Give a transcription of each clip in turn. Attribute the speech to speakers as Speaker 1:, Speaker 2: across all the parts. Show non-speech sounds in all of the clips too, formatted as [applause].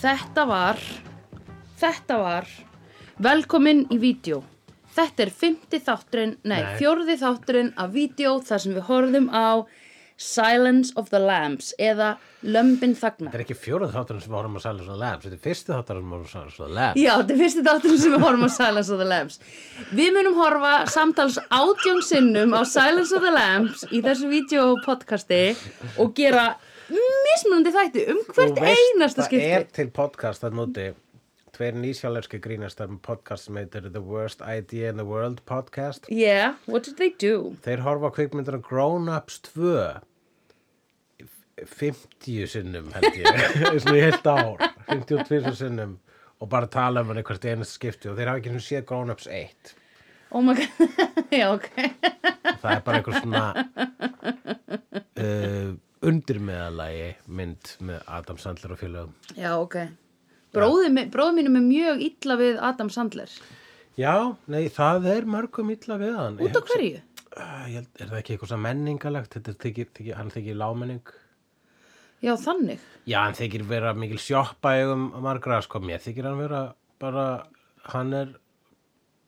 Speaker 1: Þetta var, þetta var, velkomin í vídeo. Þetta er fymti þátturinn, nei,
Speaker 2: Nei.
Speaker 1: fjórði þátturinn af vídeo þar sem við horfðum á Silence of the Lambs eða Lömbin Þagna.
Speaker 2: Þetta er ekki fjóruð þátturinn sem við horfum að sæla svo labs, þetta er fyrsti þátturinn sem við horfum að sæla svo labs.
Speaker 1: Já, þetta er fyrsti þátturinn sem við horfum á Silence of the Lambs. Við munum horfa samtals átjón sinnum á Silence of the Lambs í þessu videopodcasti og gera mismunandi þætti um hvert einasta skipti.
Speaker 2: Það er til podcast að núti, tveir nýsjálerski grínastar með podcast sem heitir The Worst Idea in the World podcast.
Speaker 1: Yeah, what did they do?
Speaker 2: Þeir horfa á kvikmyndina Grown Ups 2 f- 50 sinnum held [laughs] ég, svona í heilt ár 52 sinnum og bara tala um hann eitthvað einast skipti og þeir hafa ekki nú séð Grown Ups 1
Speaker 1: Oh my god, [laughs] já ok
Speaker 2: það er bara eitthvað svona uh, undirmeðalagi mynd með Adam Sandler og félögum
Speaker 1: Já ok Bróði, mi- bróði mínum er mjög illa við Adam Sandler
Speaker 2: Já, nei, það er mörgum illa við hann
Speaker 1: Út á hverju?
Speaker 2: Uh, ég held, er það ekki eitthvað svona menningalegt? Þetta er þykir, þykir, hann þykir lámenning
Speaker 1: Já þannig
Speaker 2: Já, hann þykir vera mikil sjoppa um margra, sko, mér þykir hann vera bara, hann er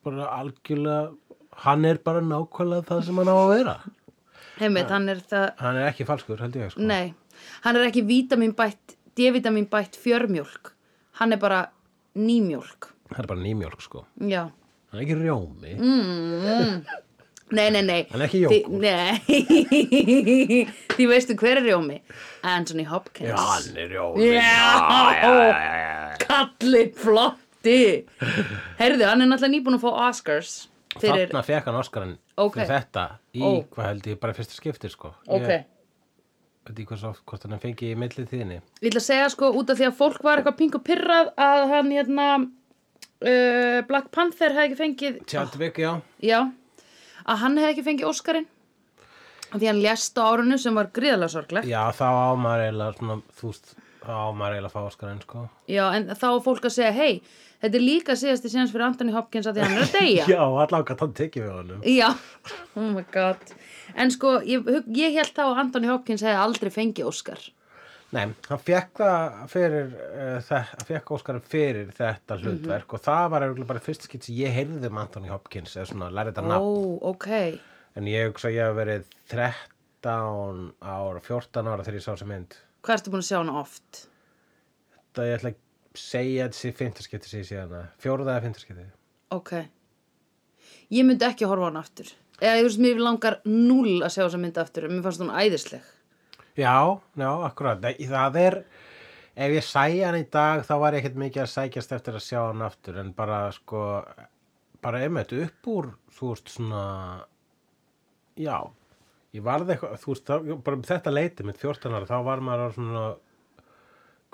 Speaker 2: bara algjörlega hann er bara nákvæmlega það sem hann á að vera
Speaker 1: Heimitt, hann er það
Speaker 2: Hann er ekki falskur, held ég, sko
Speaker 1: Nei, hann er ekki vítamin bætt D-vitamin bætt fjörmjólk Hann er bara nýmjólk
Speaker 2: Hann er bara nýmjólk, sko
Speaker 1: Já
Speaker 2: Hann er ekki
Speaker 1: Mm.
Speaker 2: rjómi
Speaker 1: Nei, nei, nei [laughs]
Speaker 2: Hann er ekki
Speaker 1: Því-
Speaker 2: jógúrt.
Speaker 1: Nei Því veistu hver er Jómi? Anthony Hopkins
Speaker 2: Já, hann er rjómi
Speaker 1: Já.
Speaker 2: já, já, já, já.
Speaker 1: Kallinn
Speaker 2: [laughs]
Speaker 1: flotti Herðu, hann er náttúrulega nýbúin að fá Oscars Fyrir
Speaker 2: Þarna fekk hann Óskarinn
Speaker 1: Ok.
Speaker 2: fyrir þetta í,
Speaker 1: Ó.
Speaker 2: hvað held ég, bara fyrsta skipti sko.
Speaker 1: Ok
Speaker 2: Ég veit ekki hversu oft, hvort hann fengi í millið þíðinni.
Speaker 1: Ég ætla að segja sko út af því að fólk var eitthvað pingu pyrrað að hann hérna uh, Black Panther hefði ekki fengið
Speaker 2: Tjaldvik, já.
Speaker 1: Já, að hann hefði ekki fengið Óskarinn af því hann lést á árunu sem var gríðalega sorglegt
Speaker 2: Já, þá á maður eiginlega, svona, þú veist, þá á maður eiginlega að fá Óskarinn sko.
Speaker 1: Já, en þá var fólk að segja hei, þetta er líka síðasti síðans fyrir Anthony Hopkins að því hann er að deyja
Speaker 2: [laughs] Já, allavega hvað hann tekið við honum.
Speaker 1: Já, oh my god En sko, ég, hug- ég held þá að Anthony Hopkins hefði aldrei fengið Óskar
Speaker 2: Nei, hann fekk það fyrir, uh, það, hann fekk Óskarinn fyrir þetta hlutverk
Speaker 1: Mhm.
Speaker 2: og það var eiginlega bara fyrst skitt sem ég heyrði um Anthony Hopkins eða svona, lærið þetta
Speaker 1: Ó,
Speaker 2: nafn.
Speaker 1: ok
Speaker 2: En ég hugsa að ég hef verið 13 ára, 14 ára þegar ég sá þessi mynd.
Speaker 1: Hvað ertu búin að sjá hann oft?
Speaker 2: að ég ætla að segja þessi fimmtarskipti sem ég sé hana. Fjóruða eða fimmtarskipti.
Speaker 1: Ok. Ég myndi ekki horfa á hana aftur. Eða ég veist, mér langar núl að sjá þessa mynd aftur. Mér fannst hún æðisleg.
Speaker 2: Já, já, akkurat. Nei, Það er, ef ég sæja hann í dag þá var ég ekkert mikið að sækjast eftir að sjá hann aftur en bara sko, bara einmitt upp úr, þú veist svona, já, ég varð eitthvað, þú veist, þá, bara um þetta leiti mitt 14 ára, þá var maður á svona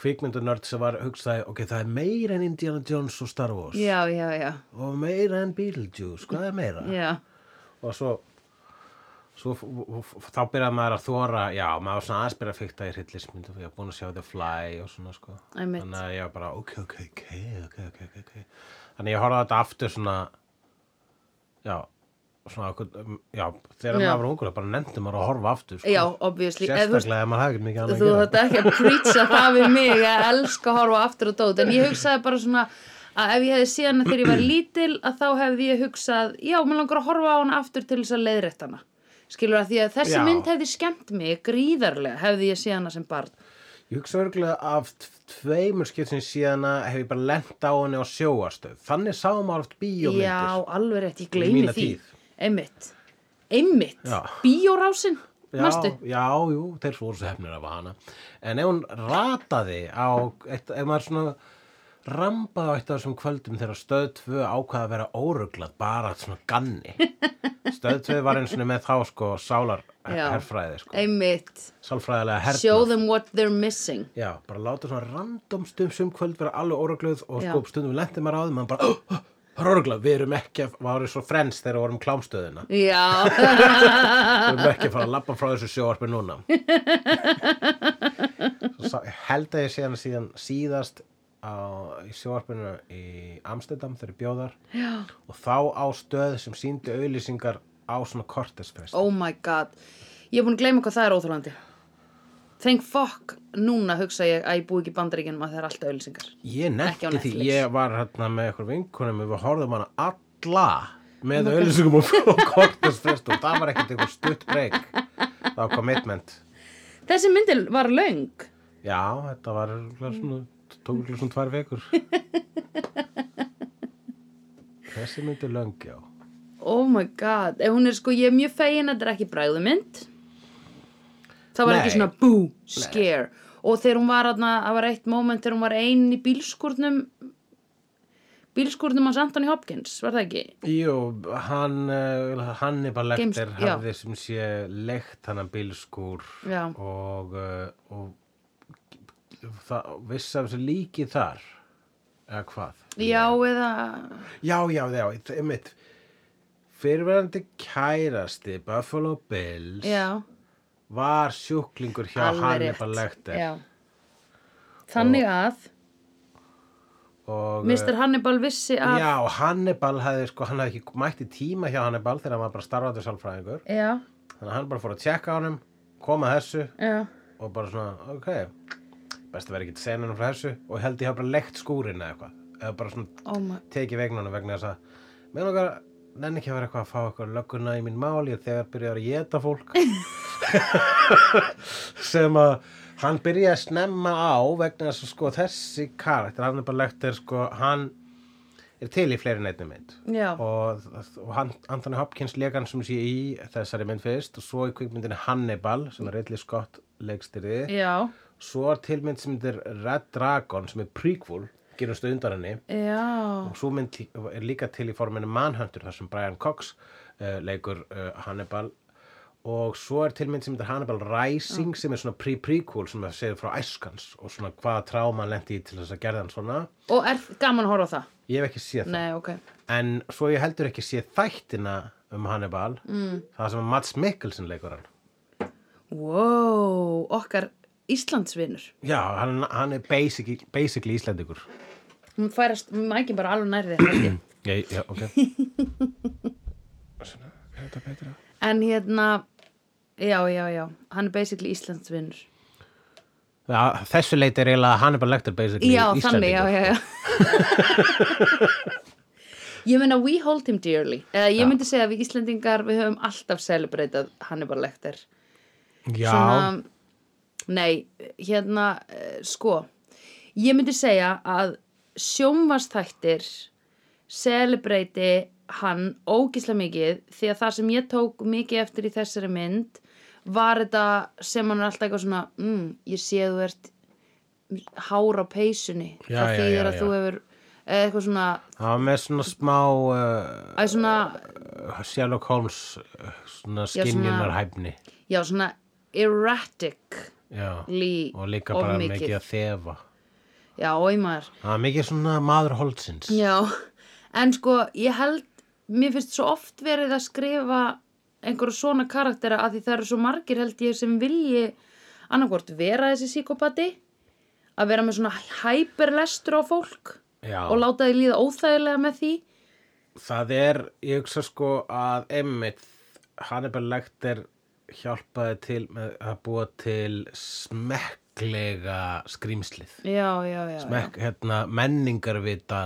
Speaker 2: kvikmyndunörd sem var hugsaði, ok, það er meira en Indiana Jones og Star Wars
Speaker 1: Já, já, já.
Speaker 2: og meira en Beetlejuice, hvað er meira?
Speaker 1: Já,
Speaker 2: og svo, svo f- f- f- þá byrjaði maður að þóra já, maður var svona aðeins byrjaði að fykta í hryllismyndu og ég var búin að sjá The Fly og svona sko
Speaker 1: Einmitt.
Speaker 2: þannig að ég var bara ok, ok, ok, ok, ok, ok, ok þannig að ég horfði á þetta aftur svona já svona, okkur- um, já, þegar
Speaker 1: Já.
Speaker 2: maður var ungur þá bara nefndi maður að horfa aftur sko.
Speaker 1: já, obviously. Eða, þú veist,
Speaker 2: sérstaklega ef maður hafði ekki mikið annað
Speaker 1: Þú
Speaker 2: að
Speaker 1: þetta ekki að preacha það við mig að elska að horfa aftur og dót. En ég hugsaði bara svona að ef ég hefði séð hana þegar ég var lítil að þá hefði ég hugsað, já, mér langar að horfa á hana aftur til þess að leiðrétta hana. Skilur að því að þessi
Speaker 2: Já.
Speaker 1: mynd hefði skemmt mig gríðarlega hefði ég séð hana sem barn.
Speaker 2: gera ég hugsa örgulega af t- tveimur skiptin síðana hef ég bara lent á henni á sjóastöð þannig sá maður oft bíómyndir
Speaker 1: Já, alveg rétt, ég gleymi
Speaker 2: mína
Speaker 1: því
Speaker 2: tíð.
Speaker 1: Einmitt Einmitt,
Speaker 2: Já.
Speaker 1: bíórásin
Speaker 2: Já,
Speaker 1: Manstu?
Speaker 2: já, jú, þeir voru svo hefnir af hana. En ef hún rataði á, eitt, ef maður svona rambaði á eitt af þessum kvöldum þegar stöð 2 ákvaða að vera óruglað bara svona
Speaker 1: [laughs]
Speaker 2: ganni. stöð 2 var eins og með þá sko sálar
Speaker 1: Já.
Speaker 2: herfræði sko,
Speaker 1: Einmitt,
Speaker 2: sálfræðilega hernað.
Speaker 1: show them what they're missing
Speaker 2: Já, bara láta svona random stundum sum kvöld vera alveg órugluð og
Speaker 1: Já.
Speaker 2: sko stundum lendi maður á því maður bara, [gasps] "Oh, oh, það er óruglað, við erum ekki að, varum svo frens þegar við vorum klámstöðina.
Speaker 1: Já,
Speaker 2: [laughs] Við erum ekki að fara að labba frá þessu sjóarpi núna. Svo sá- ég held að ég sé hann síðan síðast á, í sjóarpinu í Amsterdam þegar ég bjóðar
Speaker 1: já
Speaker 2: og þá á stöð sem síndi auðlýsingar á svona kortisfest.
Speaker 1: Oh my god Ég er búin að gleyma hvað það er óþólandi Thank fuck núna hugsa ég að ég búi ekki í bandaríkjunum að það er alltaf auðlýsingar.
Speaker 2: Ég
Speaker 1: Ekki á
Speaker 2: nefndi því,
Speaker 1: Netflix.
Speaker 2: ég var hérna með ykkur vinkunum og við horfðum hana alla með [laughs] auðlýsingum og og kortastfrest og það var ekkert einhver stutt breyk það var commitment
Speaker 1: Þessi myndil var löng.
Speaker 2: Já, þetta var örugglega svona, tók ykkur svona tvær vekur
Speaker 1: [laughs]
Speaker 2: Þessi myndi löng, já
Speaker 1: Oh my god. Ef hún er sko, ég er mjög fegin að þetta er ekki bræðumynd. Það var
Speaker 2: Nei.
Speaker 1: ekki svona boo, scare. Og þegar hún var aðna, það var eitt moment þegar hún var ein í bílskúrnum, bílskúrnum hans Anthony Hopkins, var það ekki?
Speaker 2: Jú, hann uh, Hannibal
Speaker 1: Games-
Speaker 2: Lecter
Speaker 1: já.
Speaker 2: hafði sem sé leikt hann að bílskúr
Speaker 1: Já.
Speaker 2: og, uh, og það, vissi af þessu líki þar eða hvað
Speaker 1: Já, eða...
Speaker 2: já, já, já, einmitt fyrirverandi kærasti Buffalo Bills
Speaker 1: Já.
Speaker 2: var sjúklingur hjá
Speaker 1: alveg rétt.
Speaker 2: Hannibal Lecter
Speaker 1: Já. Þannig að
Speaker 2: og uh,
Speaker 1: Mr. Hannibal vissi að
Speaker 2: já, Hannibal hafði sko, hann hafði ekki mætt í tíma hjá Hannibal þegar hann var bara starfandi sálfræðingur
Speaker 1: já,
Speaker 2: þannig að hann bara fór að tjekka á honum koma að þessu
Speaker 1: já.
Speaker 2: og bara svona, ok best að vera ekki senan frá þessu og held ég hafa bara lekt skúrin eða eitthvað eða bara svona
Speaker 1: Oh my,
Speaker 2: tekið vegnunum vegna þess að með nokkar, nenni ekki að vera eitthvað að fá eitthvað lögguna í mín mál, ég er þegar byrjaði að geta fólk sem að hann byrjaði að snemma á vegna þess að sko þessi karakter, hann er bara lekt er sko, hann er til í fleiri neittnum mynd
Speaker 1: já,
Speaker 2: og, og hann, Anthony Hopkins leik hann sem sé í þessari mynd fyrst og svo í kvikmyndinni Hannibal sem er Ridley Scott leikstyrði
Speaker 1: já,
Speaker 2: svo er tilmynd sem myndir Red Dragon sem er prequel, gerumst undan henni
Speaker 1: já,
Speaker 2: og svo mynd lí- er líka til í forminu Manhunter þar sem Brian Cox uh, leikur uh, Hannibal og svo er tilmynd sem myndir Hannibal Rising
Speaker 1: Mm.
Speaker 2: sem er svona pre-prequel sem það segir frá æskans og svona hvaða tráma hann lendi í til þess að gerða hann svona
Speaker 1: og er gaman að horfa á það?
Speaker 2: ég hef ekki séð það
Speaker 1: Nei, ok,
Speaker 2: en svo ég heldur ekki sé þættina um Hannibal mm. það sem Mats Mikkelsen leikur hann
Speaker 1: wow, okkar Íslandsvinur,
Speaker 2: já, hann, hann er basically, basically íslendingur
Speaker 1: hún færast mækin bara alveg nærði held ég.
Speaker 2: ég, já, ok [laughs] Svona, er þetta betra?
Speaker 1: en hérna já, já, já, hann er basically Íslandsvinur
Speaker 2: Já, þessu leiti er eiginlega Hannibal Lecter basically
Speaker 1: já, þannig, já,
Speaker 2: íslendingur
Speaker 1: já, [laughs] já ég meina we hold him dearly, eða ég myndi segja að við Íslandingar, við höfum alltaf celebratað Hannibal Lecter
Speaker 2: já,
Speaker 1: svona, nei, hérna, eh, sko, ég myndi segja að sjónvastættir celebreyti hann ógislega mikið því að það sem ég tók mikið eftir í þessari mynd var þetta sem hann er alltaf eitthvað svona, mm, ég sé að þú ert hár á peysunni,
Speaker 2: Já,
Speaker 1: það
Speaker 2: já,
Speaker 1: þýðir
Speaker 2: já,
Speaker 1: að
Speaker 2: já.
Speaker 1: þú hefur eða eitthvað svona,
Speaker 2: það var með svona smá uh,
Speaker 1: að svona,
Speaker 2: Sherlock Holmes uh, svona
Speaker 1: svona-
Speaker 2: skinjunar hæfni
Speaker 1: já, svona erratic
Speaker 2: já,
Speaker 1: Lí-
Speaker 2: og líka
Speaker 1: of
Speaker 2: bara
Speaker 1: mikið.
Speaker 2: mikið að þefa
Speaker 1: já, oi maður
Speaker 2: það var mikið svona maður holdsins
Speaker 1: Já, en sko ég held, mér finnst svo oft verið að skrifa einhverja svona karaktera að því það eru svo margir held ég sem vilji annarkvort vera þessi psíkopati að vera með svona hæperlestur á fólk
Speaker 2: Já.
Speaker 1: og láta því líða óþægilega með því
Speaker 2: Það er, ég hugsa sko að einmitt Hannibal Lecter hjálpaði til með að búa til smekklega skrýmslið.
Speaker 1: Já, já, já, já,
Speaker 2: Smekk, hérna, menningarvita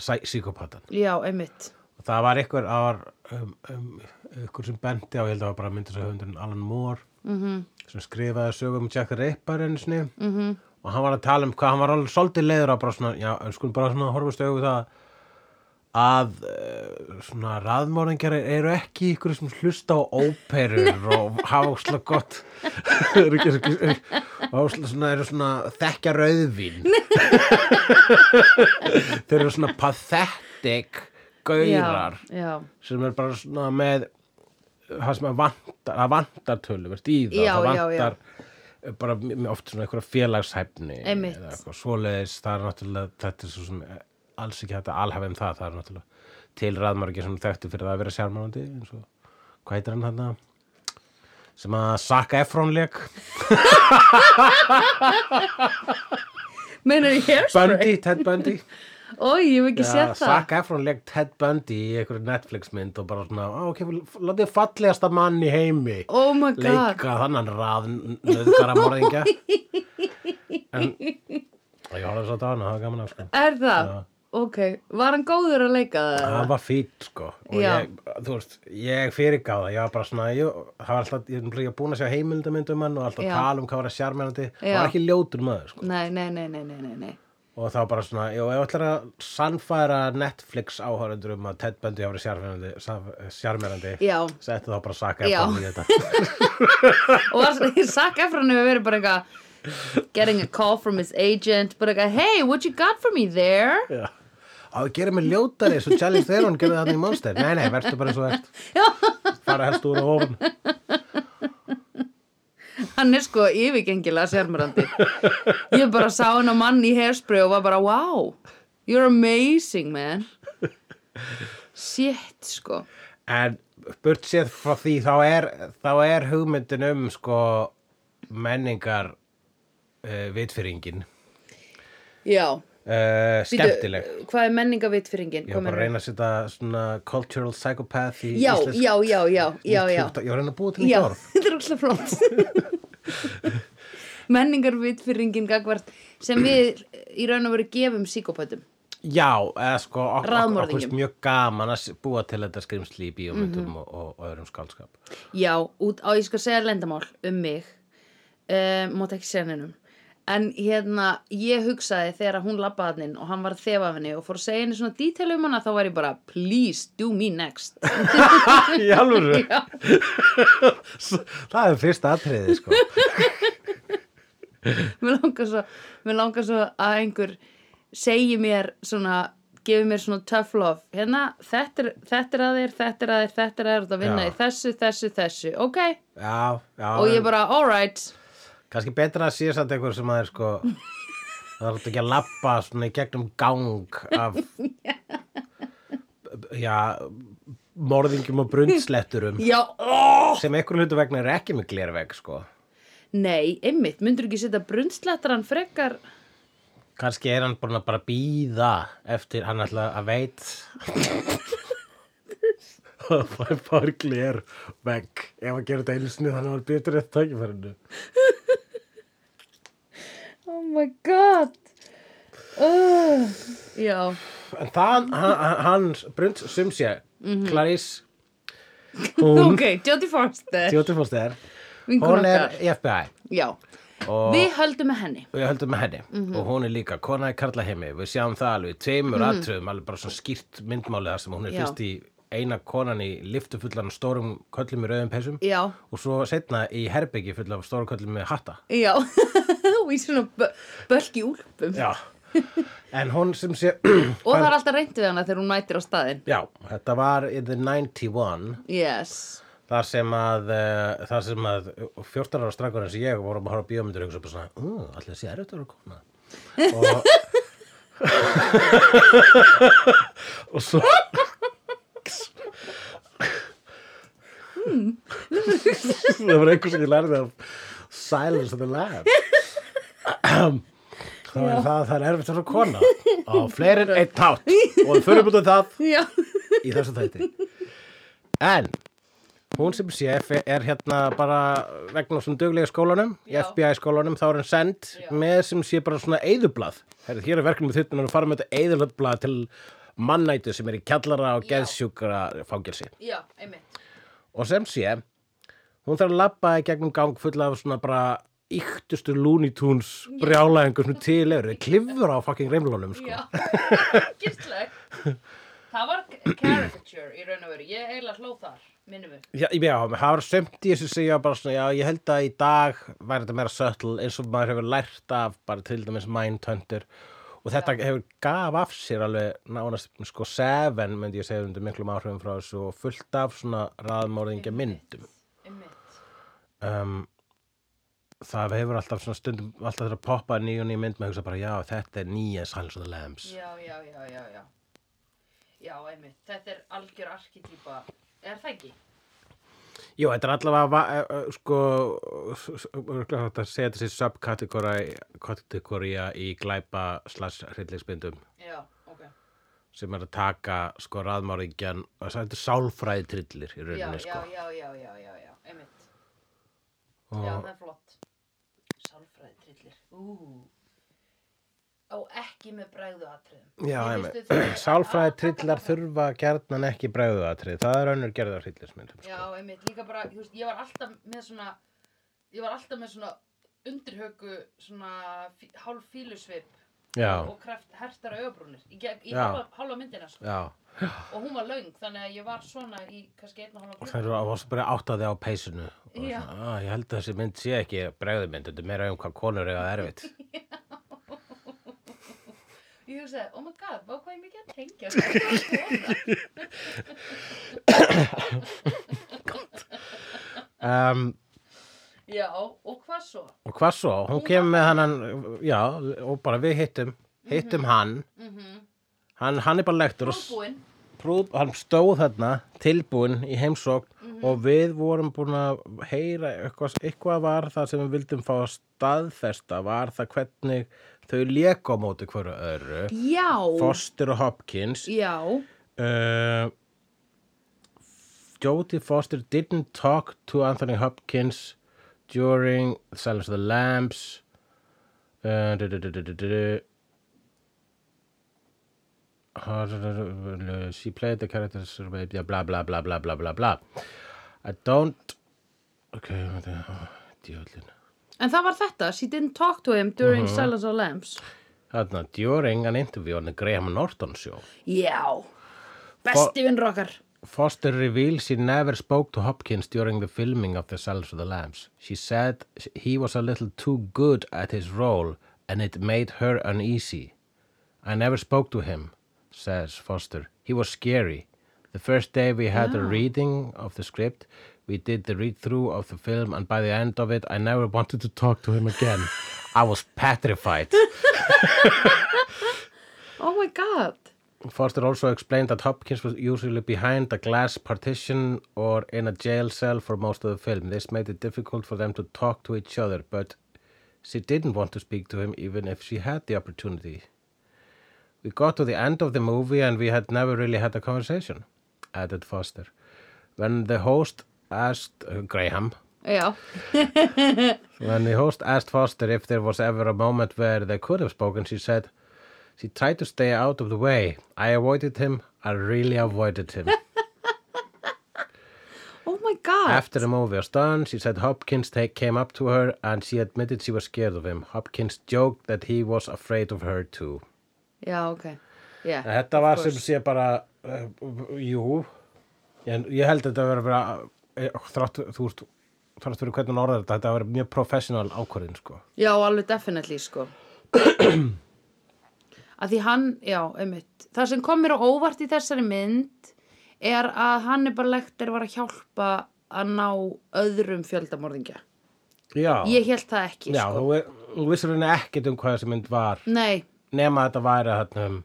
Speaker 2: sæ- psíkopatan.
Speaker 1: já einmitt
Speaker 2: Og Það var ykkur, það var um, um, ykkur sem bendi á, ég held að það var bara myndir sem höfundurinn Alan Moore,
Speaker 1: Mhm.
Speaker 2: -hmm. sem skrifaði sögum um Jack the Ripper einu sinni. Mm -hmm. Og hann var að tala um hvað, hann var alveg svolítið leiður á bara svona, já, en skulum bara svona horfast auðvitað það að uh, svona raðmóringjar eru ekki ykkur sem hlusta á óperur og hafa ósla gott [laughs] eru ekki eru- og ósla svona, eru svona þekkja rauðvín [laughs] þeir eru svona pathetic gaurar
Speaker 1: Já, já,
Speaker 2: sem er bara svona með það sem að vantar, að vantar töluvert í það,
Speaker 1: Já,
Speaker 2: það
Speaker 1: já, já.
Speaker 2: vantar eh, bara m- m- oft svona einhverja félagshæfni
Speaker 1: Einmitt.
Speaker 2: eða eitthvað svoleiðis, það er náttúrulega þetta er svo sem eh, alls ekki hægt að alhafa um það, það er náttúrulega til raðmargi sem þekktu fyrir það að vera sjármánandi eins og hvað heitir hann þarna sem að Saka Efron
Speaker 1: [laughs]
Speaker 2: leik
Speaker 1: meinar ég hér
Speaker 2: Bundy, Ted Bundy
Speaker 1: Ói, [laughs] ég hef ekki séð það
Speaker 2: Saka Efron legg Ted Bundy í einhverju Netflix mynd og bara svona, "Á, ok, látið fallegasta mann í heimi
Speaker 1: Oh my god
Speaker 2: leika þannan rað nöðgara morðingja en ég horfði svo á hana, það var gaman að sko
Speaker 1: Er það?
Speaker 2: Já.
Speaker 1: Ok, var hann góður að leika það?
Speaker 2: það var fýtt sko og
Speaker 1: Já.
Speaker 2: ég, þú veist, ég fyrirgáð það ég var bara svona, ég, það var alltaf ég var líka búin að sjá heimildamynd um hann og alltaf
Speaker 1: Já.
Speaker 2: tala um hvað var að sjarmjörnandi, það
Speaker 1: Já.
Speaker 2: var ekki ljótur maður sko
Speaker 1: Nei, nei, nei, nei, nei, nei, nei.
Speaker 2: og það var bara svona, jú, ef ætlar að sannfæra Netflix áhörundur um að Ted Bundy hafa verið sjarmjörnandi
Speaker 1: Já.
Speaker 2: settu þá bara saka
Speaker 1: Já.
Speaker 2: í þetta
Speaker 1: Og var- Zac Efron hefur verið bara eitthvað Getting a call from his agent Bara eitthvað, hey, what you got for me there? [laughs]
Speaker 2: Já. Á, gera mig ljótari, svo Charlize Theron gerði það í Monster. Nei, nei, verður bara eins og verð. Fara helst úr og ofan.
Speaker 1: Hann er sko yfirgengilega sérmurandi Ég bara sá hann á mann í hairspray og var bara, wow You're amazing, man Shit, sko
Speaker 2: En burt séð frá því, þá er, þá er hugmyndin um, sko, menningar uh, vitfyringin.
Speaker 1: Já,
Speaker 2: Uh,
Speaker 1: býtu,
Speaker 2: skemmtileg.
Speaker 1: Hvað er menningavitfyringin?
Speaker 2: Ég var bara að reyna að setja svona cultural psychopath í
Speaker 1: Já,
Speaker 2: íslensk.
Speaker 1: já, já, já, já, já
Speaker 2: Ég var að reyna að búa til
Speaker 1: Já,
Speaker 2: nýtt orð.
Speaker 1: [laughs] þetta er óslega flott [laughs] Menningarvitfyrringin gagvart sem við í raun og veru gefum psíkopætum
Speaker 2: Já, eða sko, ok- ok- okkur
Speaker 1: Ráðmorðingjum.
Speaker 2: finnst mjög gaman að s- búa til þetta skrimsli í bíómyndum og, og, og öðrum skálskap.
Speaker 1: Já, út á ég skal segja lendamál um mig um, Mátt ekki segja neinum En hérna, ég hugsaði þegar hún labbaði hann inn og hann var að þefa af henni og fór að segja henni svona detail um hana þá var ég bara Please, do me next [laughs]
Speaker 2: Í alvöru?
Speaker 1: Já.
Speaker 2: það er fyrsta atriði
Speaker 1: [laughs]
Speaker 2: sko.
Speaker 1: mér langar svo, mér langar svo að einhver segi mér svona gefi mér svona tough love hérna, þetta er, þetta er að þér, þetta er að þér þetta er að þér, þetta vinna
Speaker 2: Já.
Speaker 1: í þessu, þessu, þessu ok,
Speaker 2: Já, já
Speaker 1: og ég
Speaker 2: en
Speaker 1: bara, alright
Speaker 2: Kannski betra að sé samt einhver sem að er sko Það er ekki að labba svona í gegnum gang
Speaker 1: [laughs]
Speaker 2: af Já Morðingjum og brundsletturum
Speaker 1: já, oh!
Speaker 2: Sem einhver hlutu vegna er ekki með glervegg sko
Speaker 1: nei, einmitt, myndur ekki setja brunnslættaran frekar
Speaker 2: Kannski er hann búin að bara býða Eftir hann ætla að veit
Speaker 1: [laughs]
Speaker 2: [laughs] Það fær bara glervegg Ef að gera þetta einu sinni þannig að hann býtur eftir tækifærinu
Speaker 1: oh my god oh. já,
Speaker 2: En það,
Speaker 1: Mm.
Speaker 2: hann, hann Brunt Sumsjö,
Speaker 1: Mhm.
Speaker 2: Clarice
Speaker 1: [laughs]
Speaker 2: hún,
Speaker 1: ok, Jodie Forster
Speaker 2: Tjóti Fóster
Speaker 1: vinkun
Speaker 2: hún er
Speaker 1: okkar,
Speaker 2: í FBI
Speaker 1: já
Speaker 2: og
Speaker 1: við höldum með henni
Speaker 2: við höldum með henni
Speaker 1: Mhm.
Speaker 2: og hún er líka kona í Karla heimi við sjáum það alveg í tveimur atriðum alveg bara svona skýrt myndmáli þar sem hún er
Speaker 1: Já.
Speaker 2: fyrst í eina konan í liftu fullan af stórum köllum í rauðum peysum
Speaker 1: já,
Speaker 2: og svo setna í herbyggi fullan af stórum köllum með hatta
Speaker 1: Já, [laughs] og í svona bö- bölki úlpum
Speaker 2: Já. en hún sem sé
Speaker 1: Og það er alltaf reynt við hana þegar hún mætir á staðinn
Speaker 2: [clears throat] já, þetta var in the 91
Speaker 1: Yes
Speaker 2: þar sem að uh, þar sem að 14 ára strákur eins og ég vorum að horfa á bíómyndir og hugsa bara svona uh, allir þessi er þetta að koma og [laughs] og svo það var einhver sem ég lærði af Silence of the Lab þá er það að það er erfitt að vera kona á fleiri en einn tát og við förum út af það
Speaker 1: Já,
Speaker 2: í þessu þætti en hún sem sé er- er hérna bara vegna svona duglega skólanum í
Speaker 1: Já.
Speaker 2: FBI skólanum þá er hann send með sem sé bara svona eyðublað Herri, hér er verkefnum við þittunum að fara með þetta eyðublað til mannætu sem er í kjallara og
Speaker 1: Já.
Speaker 2: geðsjúkara fangelsi
Speaker 1: já, einmitt
Speaker 2: og sem sé hún þarf að labba í gegnum gang fulla af svona bara yktustu Looney Tunes brjálæðingur svona til yfir, þeir klifur á fucking reymlunum sko.
Speaker 1: Já, gistleg Það var caricature í raun og veru Ég eiginlega hló þar, minnum við
Speaker 2: Já, ég meina, það var sömt í þessu sem ég var bara svona, já, ég held að í dag væri þetta meira sötl eins og maður hefur lært af bara til dæmis Mindhunter og þetta hefur gaf af sér alveg nánast sko seven myndi ég segja undir miklum áhrifum frá þessu og fullt af svona raðmórðingja myndum
Speaker 1: Einmitt
Speaker 2: um, það hefur alltaf svona stundum alltaf þegar að poppa ný og ný mynd með hugsa bara, já, þetta er nýja Silence of the Lambs
Speaker 1: Já, já, já, já, já Já, einmitt, þetta er algjör arkitýpa Er það ekki?
Speaker 2: Jú, þetta er allavega va- eh, eh, sko s- s- örugglega hægt að segja þessi subkategória í glæpa slash hryllingsmyndum
Speaker 1: Já, ok
Speaker 2: sem er að taka sko raðmáringjan og það er sálfræði trillir í
Speaker 1: já,
Speaker 2: rauninni
Speaker 1: já,
Speaker 2: sko
Speaker 1: já, já, já, já, já, einmitt Já,
Speaker 2: og
Speaker 1: það er flott Sálfræði trillir Ú Og ekki með bræðu atriðum
Speaker 2: Já,
Speaker 1: Mér
Speaker 2: emi,
Speaker 1: finnst þau þurfa-
Speaker 2: [clears throat] sálfræði
Speaker 1: Ah,
Speaker 2: trillar þurfa gjarnan ekki bræðuatrið, það er önnur gerðar hryllismyndum
Speaker 1: Já,
Speaker 2: sko.
Speaker 1: einmitt, líka bara, þú veist, ég var alltaf með svona, ég var alltaf með svona undirhauku, svona fí- hálf fílusvip
Speaker 2: Já,
Speaker 1: og kraft hertara augabrúnir í, gegn- í
Speaker 2: Já.
Speaker 1: hálfa, hálfa myndina, sko.
Speaker 2: já,
Speaker 1: Og hún var löng, þannig að ég var svona í kannski einn og hálfa
Speaker 2: og það er að varst bara að átta þig á peysinu og
Speaker 1: Já.
Speaker 2: svona, að, ég held að þessi mynd sé ekki bræðumynd, þetta er meira um hvað konur eiga það erfitt
Speaker 1: [laughs] Ég hugsaði, oh my god, vá hvað ég mikið að tengja hvað er
Speaker 2: [laughs]
Speaker 1: það að koma?
Speaker 2: um,
Speaker 1: Já, og hvað svo?
Speaker 2: Og hvað svo? Hún kemur með hann, já, og bara við hittum, hittum hann,
Speaker 1: Mm -hmm.
Speaker 2: hann, hann er bara lektur og s-
Speaker 1: Próbúinn,
Speaker 2: prúð, hann stóð þarna tilbúinn í heimsókn og við vorum búin að heyra eitthvað, eitthvað var það sem við vildum fá að staðfesta var það hvernig þau léku á móti hverju öðru,
Speaker 1: já,
Speaker 2: Foster og Hopkins.
Speaker 1: já,
Speaker 2: Uh, Jodie Foster didn't talk to Anthony Hopkins during Silence of the Lambs. Uh, du- du- du- du- du- du- du. Uh, du- du- du- du- du- She played the characters blah blah blah blah blah blah blah blah. I don't. Okay, what the- oh, djöðlin.
Speaker 1: en það var þetta, she didn't talk to him during
Speaker 2: Mhm.
Speaker 1: Silence of the Lambs.
Speaker 2: Þarna, during an interview on the Graham Norton show.
Speaker 1: Já, besti vinnur okkar.
Speaker 2: Foster reveals she never spoke to Hopkins during the filming of The Silence of the Lambs. She said he was a little too good at his role and it made her uneasy. I never spoke to him, says Foster. He was scary. The first day we had a reading of the script, we did the read through of the film, and by the end of it, I never wanted to talk to him again. I was petrified.
Speaker 1: Oh my god.
Speaker 2: Foster also explained that Hopkins was usually behind a glass partition or in a jail cell for most of the film. This made it difficult for them to talk to each other, but she didn't want to speak to him even if she had the opportunity. We got to the end of the movie and we had never really had a conversation, added Foster. When the host asked uh, Graham,
Speaker 1: Já,
Speaker 2: When the host asked Foster if there was ever a moment where they could have spoken, she said, She tried to stay out of the way. I avoided him. I really avoided
Speaker 1: [laughs]
Speaker 2: him.
Speaker 1: oh my god.
Speaker 2: After the movie was done, she said Hopkins ta- came up to her and she admitted she was scared of him. Hopkins joked that he was afraid of her too.
Speaker 1: Já, ok. Yeah,
Speaker 2: Þetta
Speaker 1: of
Speaker 2: var
Speaker 1: course.
Speaker 2: sem sé bara, uh, jú, en ég held að þetta verið bara, uh, þrátt, þú veist, þrátt fyrir hvernig hún orðar þetta, þetta verið mjög professional ákvörðin, sko.
Speaker 1: Já, alveg definitely, sko. að því hann, já, einmitt. Það sem kom mér á óvart í þessari mynd er að hann er bara lekt er var að hjálpa að ná öðrum fjöldamorðingja.
Speaker 2: Já.
Speaker 1: Ég held það ekki,
Speaker 2: Já,
Speaker 1: sko.
Speaker 2: þú, þú vissir henni ekkert um hvað þessi mynd var
Speaker 1: Nei,
Speaker 2: nema að þetta væri þarna um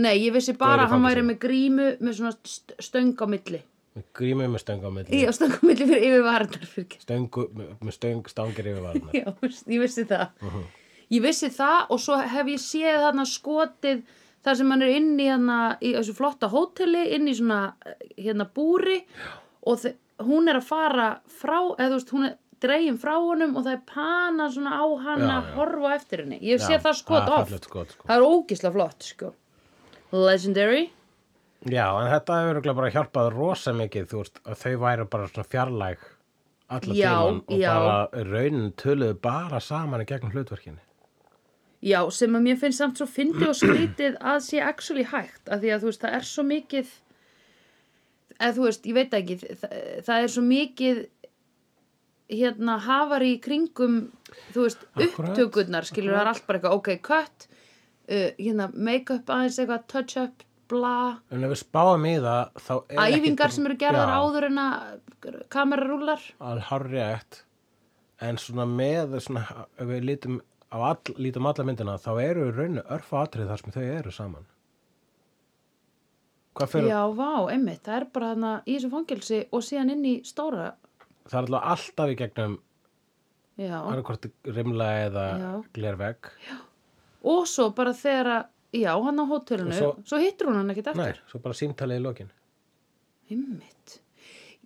Speaker 1: nei, ég vissi bara
Speaker 2: Gaur í
Speaker 1: að hann
Speaker 2: fangelsi.
Speaker 1: væri með grímu með svona st- stöng á milli.
Speaker 2: grímu með stöng á milli
Speaker 1: Já, stöng á milli fyrir yfirvarnar fyrir
Speaker 2: stöngu, með með stöng stangir yfir varna
Speaker 1: [laughs] Já, veist, ég vissi það.
Speaker 2: Uh-huh.
Speaker 1: Ég vissi það og svo hef ég séð þarna skotið þar sem hann er inn í hérna í þessu flotta hóteli, inn í svona eh, hérna búri og þe- hún er að fara frá, eða þú veist, hún er dregin frá honum og það er panað svona á hann
Speaker 2: Já,
Speaker 1: að
Speaker 2: já.
Speaker 1: horfa á eftir henni. Ég hef séð það skot oft.
Speaker 2: skot, sko.
Speaker 1: Það er ógisla flott, sko. Legendary.
Speaker 2: Já, en þetta hefur örugglega bara hjálpað rosa mikið þú veist, að þau væri bara svona fjarlæg alla
Speaker 1: Já,
Speaker 2: tíman og
Speaker 1: já.
Speaker 2: bara raunin töluðu bara saman í gegnum hlutverkinni
Speaker 1: Já, sem að mér finnst samt svo fyndi og skrítið að sé actually hægt, af því að þú veist, það er svo mikið eða þú veist, ég veit ekki það, það er svo mikið hérna hafar í kringum þú veist,
Speaker 2: Akkúrat,
Speaker 1: upptökurnar skilur það er allt bara eitthvað, ok, cut uh, hérna, make-up aðeins eitthvað touch-up, bla
Speaker 2: En ef við spáum í það þá er ekkert- um-
Speaker 1: æfingar sem eru gerðar
Speaker 2: Já.
Speaker 1: áður en að kamerarúlar
Speaker 2: alveg harrétt en svona með svona, ef við lítum, á all, lítum alla myndina þá eru í rauninu örfa atrið þar sem þau eru saman hvað fyrir,
Speaker 1: Já, vá, einmitt, það er bara þarna í þessu fangelsi og síðan inn í stóra
Speaker 2: það er alltaf alltaf í gegnum
Speaker 1: Já,
Speaker 2: annarkvort rimla eða
Speaker 1: Já.
Speaker 2: glervegg
Speaker 1: og svo bara þegar að já, hann á hótelinu,
Speaker 2: Og
Speaker 1: svo,
Speaker 2: svo-
Speaker 1: hittur hún hann ekkit
Speaker 2: Nei,
Speaker 1: aftur.
Speaker 2: svo bara símtalið í lokin.
Speaker 1: Einmitt.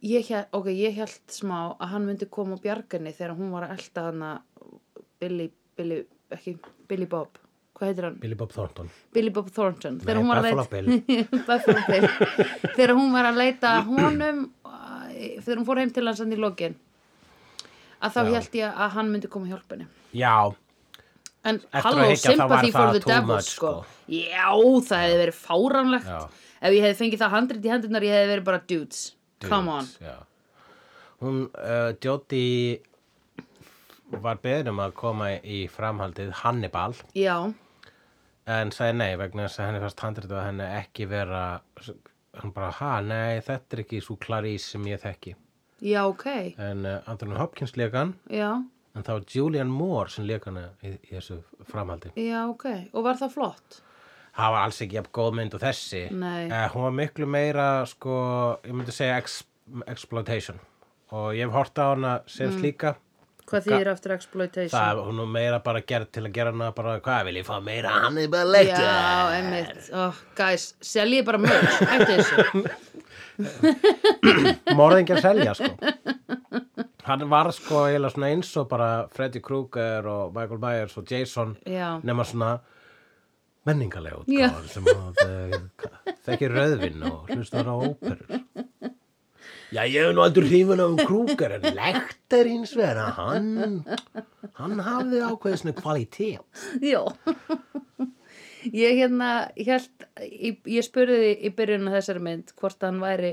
Speaker 1: Ég, hélt- ok, ég held smá að hann myndi koma á bjarginni þegar hún var að elta hann að Billy, Billy, ekki, Billy Bob. Hvað heitir hann?
Speaker 2: Billy Bob Thornton.
Speaker 1: Billy Bob Thornton.
Speaker 2: Nei,
Speaker 1: Þegar hún var að
Speaker 2: Buffalo
Speaker 1: leita- [laughs] Buffalo Bill. þegar hún var að leita honum, æ, þegar hún fór heim til hans hann í lokin. Að þá
Speaker 2: Já.
Speaker 1: held ég að hann myndi koma að hjálpa henni.
Speaker 2: Já,
Speaker 1: En
Speaker 2: að
Speaker 1: halló,
Speaker 2: hyggja, þá var
Speaker 1: sympathy for
Speaker 2: það
Speaker 1: the
Speaker 2: too
Speaker 1: devil,
Speaker 2: much,
Speaker 1: sko.
Speaker 2: sko.
Speaker 1: Já, það hefði verið fáránlegt.
Speaker 2: Já.
Speaker 1: Ef ég hefði fengið það handrit í hendunar, ég hefði verið bara dudes. Come on.
Speaker 2: Dudes, Já. Hún, uh, Jóti var beðin um að koma í framhaldið Hannibal
Speaker 1: Já,
Speaker 2: en sagði nei vegna þess að henni fannst handrið að henni ekki vera hann bara, ha, nei, þetta er ekki svo Clarice sem ég þekki
Speaker 1: já, ok.
Speaker 2: en uh, Anthony Hopkins leika hann
Speaker 1: Já,
Speaker 2: en það var Julian Moore sem leika hann í, í þessu framhaldi
Speaker 1: já, ok. Og var það flott?
Speaker 2: það var alls ekki jafn góð mynd og þessi
Speaker 1: Nei.
Speaker 2: Eh, hún var miklu meira sko, ég myndi segja ex exploitation og ég hef hort á hana sem
Speaker 1: Mm.
Speaker 2: slíka
Speaker 1: Hvað þýðir aftur exploitation?
Speaker 2: Það, hún er meira bara gerð til að gera hana bara, hvað vil ég fá meira Hannibal
Speaker 1: Já,
Speaker 2: Lecter?
Speaker 1: einmitt. Oh, guys, seljið bara mörg. Ætti þessu.
Speaker 2: Morðingjar selja, sko. [laughs] Hann var sko eiginlega svona eins og bara Freddy Krueger og Michael Myers og Jason [laughs]
Speaker 1: Já.
Speaker 2: nema svona menningarlega
Speaker 1: Já.
Speaker 2: útgáðan sem að eh, [laughs] þekkir rauðvinn og hlustar á óperur. Já, ég hef nú aldrei hrifun af um Krueger en Lecter hins vegar, að hann, hann hafði ákveðið svona kvalitet.
Speaker 1: Já. Ég hérna, held, ég, ég spurði þig í byrjunum þessari mynd hvort hann væri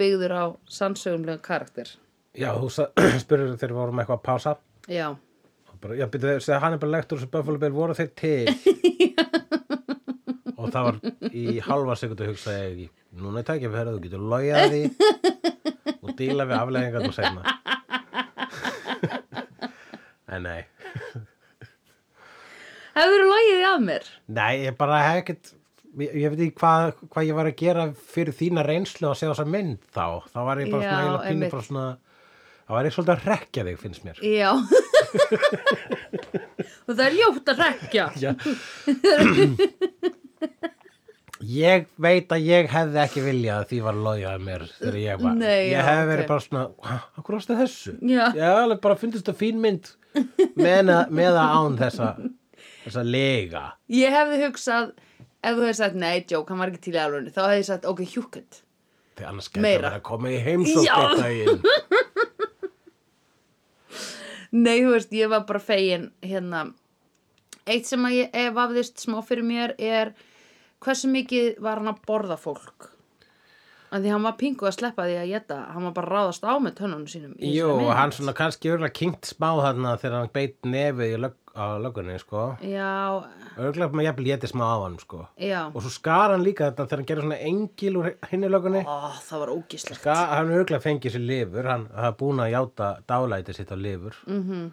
Speaker 1: byggður á sannsögumlega karakter.
Speaker 2: Já, þú [clears throat] spurður þegar við vorum eitthvað að pása.
Speaker 1: Já.
Speaker 2: Og bara, já, byrju, þegar hann er bara lektur sem Buffalo Bill voru þeir
Speaker 1: [laughs]
Speaker 2: til og það var í halva sekundu hugsaði ég ekki núna er tækja fyrir að þú getur logið því og díla við afleggingar og
Speaker 1: [laughs]
Speaker 2: segna en nei
Speaker 1: Hefur þú logið þið af mér?
Speaker 2: nei, ég bara hef ekkert ég, ég veit ekki hvað hva ég var að gera fyrir þína reynslu að segja þessa mynd þá þá var ég bara svona,
Speaker 1: Já,
Speaker 2: eiginlega pínu
Speaker 1: einmitt.
Speaker 2: bara svona þá var ég svolítið að rekja þig finnst mér
Speaker 1: [laughs] Já. Og það er ljótt að rekja.
Speaker 2: Já. [clears throat] ég veit að ég hefði ekki viljað að því var logið mér þegar ég var.
Speaker 1: Nei, já,
Speaker 2: ég hefði verið
Speaker 1: ok.
Speaker 2: bara svona, "Ha, af hverju varstu þessu?
Speaker 1: Já.
Speaker 2: Ég hefði alveg bara fundist það fín mynd með að- með að án þessa, þessa lega.
Speaker 1: Ég hefði hugsað, ef þú hefði sagt, nei, Jók, hann var ekki til í alvörinu, þá hefði ég sagt, ok, hjúkund.
Speaker 2: Þegar annars gæti
Speaker 1: Meira.
Speaker 2: að vera að koma í heimsótt
Speaker 1: Já.
Speaker 2: eitt
Speaker 1: [laughs]
Speaker 2: daginn.
Speaker 1: Nei, þú veist, ég var bara fegin, hérna, eitt sem að ég eh, vafðist smá fyrir mér er hversu mikið var hann að borða fólk? Af því hann var pingu að sleppa því að geta, hann var bara að ráðast á með tönnunum sínum. í
Speaker 2: Jú,
Speaker 1: þessari mynd.
Speaker 2: hann svona kannski örgulega kynkt smá þarna þegar hann beit nefið í lög, á lögunni, sko.
Speaker 1: Já,
Speaker 2: Örgulega með jafnvel getið smá á hann, sko.
Speaker 1: já,
Speaker 2: Og svo skar hann líka þetta þegar hann gerir svona engil úr hinni lögunni.
Speaker 1: Ó, það var ógíslegt.
Speaker 2: Ska, hann er auðvitað fengið sér lifur, hann hann er búin að játa dálæti sitt á lifur. Mm -hmm.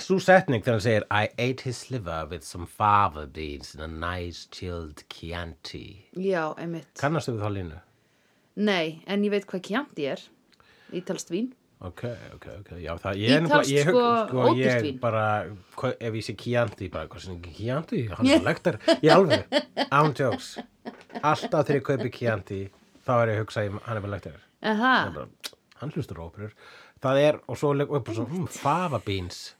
Speaker 2: Svo setning þegar hann segir I ate his liver with some fava beans and a nice chilled Chianti.
Speaker 1: Já, einmitt.
Speaker 2: Kannastu við þá línu?
Speaker 1: Nei, en ég veit hvað kjandi er, ítalst vín.
Speaker 2: Ok, ok, ok, já það, ég er
Speaker 1: Ítalskt,
Speaker 2: ég, hug-
Speaker 1: sko, ódýrt
Speaker 2: ég
Speaker 1: vín.
Speaker 2: bara, hva, ef ég sé Chianti, bara, hvað sem ekki Chianti, hann er lektar, í alveg, án jokes, alltaf þegar ég kaupi Chianti, þá er ég að hugsa, ég, hann er bara lektar.
Speaker 1: En
Speaker 2: bara,
Speaker 1: það,
Speaker 2: hérna, hann hlustur á óperur það er, og svo leik, og bara svo, mm, fava beans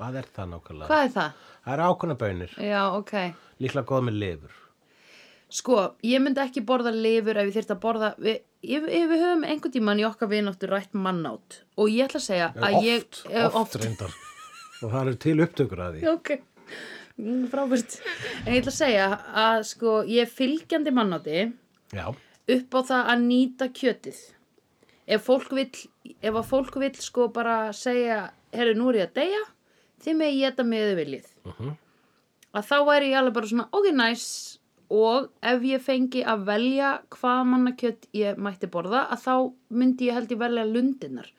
Speaker 2: hvað er það nákvæmlega?
Speaker 1: hvað er það?
Speaker 2: það eru ákveðna bönir,
Speaker 1: Já, ok.
Speaker 2: líklega góð með lifur
Speaker 1: Sko, ég myndi ekki borða lifur ef ég þyrfti að borða við, ef, ef við höfum einhvern tímann í okkar vináttu rætt mannátt og ég ætla að segja að
Speaker 2: oft,
Speaker 1: ég
Speaker 2: oft,
Speaker 1: eh,
Speaker 2: reyndar og það eru til upptökur að því
Speaker 1: [laughs] ok, Mm, frábært en ég ætla að segja að sko ég er fylgjandi mannátti
Speaker 2: já,
Speaker 1: upp á það að nýta kjötið ef fólk vill ef að fólk vill sko bara segja herru nú er ég að deyja þið með ég geta með þau viljið að þá væri ég alveg bara svona ok nice og ef ég fengi að velja hvað mannakjött ég mætti borða að þá myndi ég held ég velja lundinnar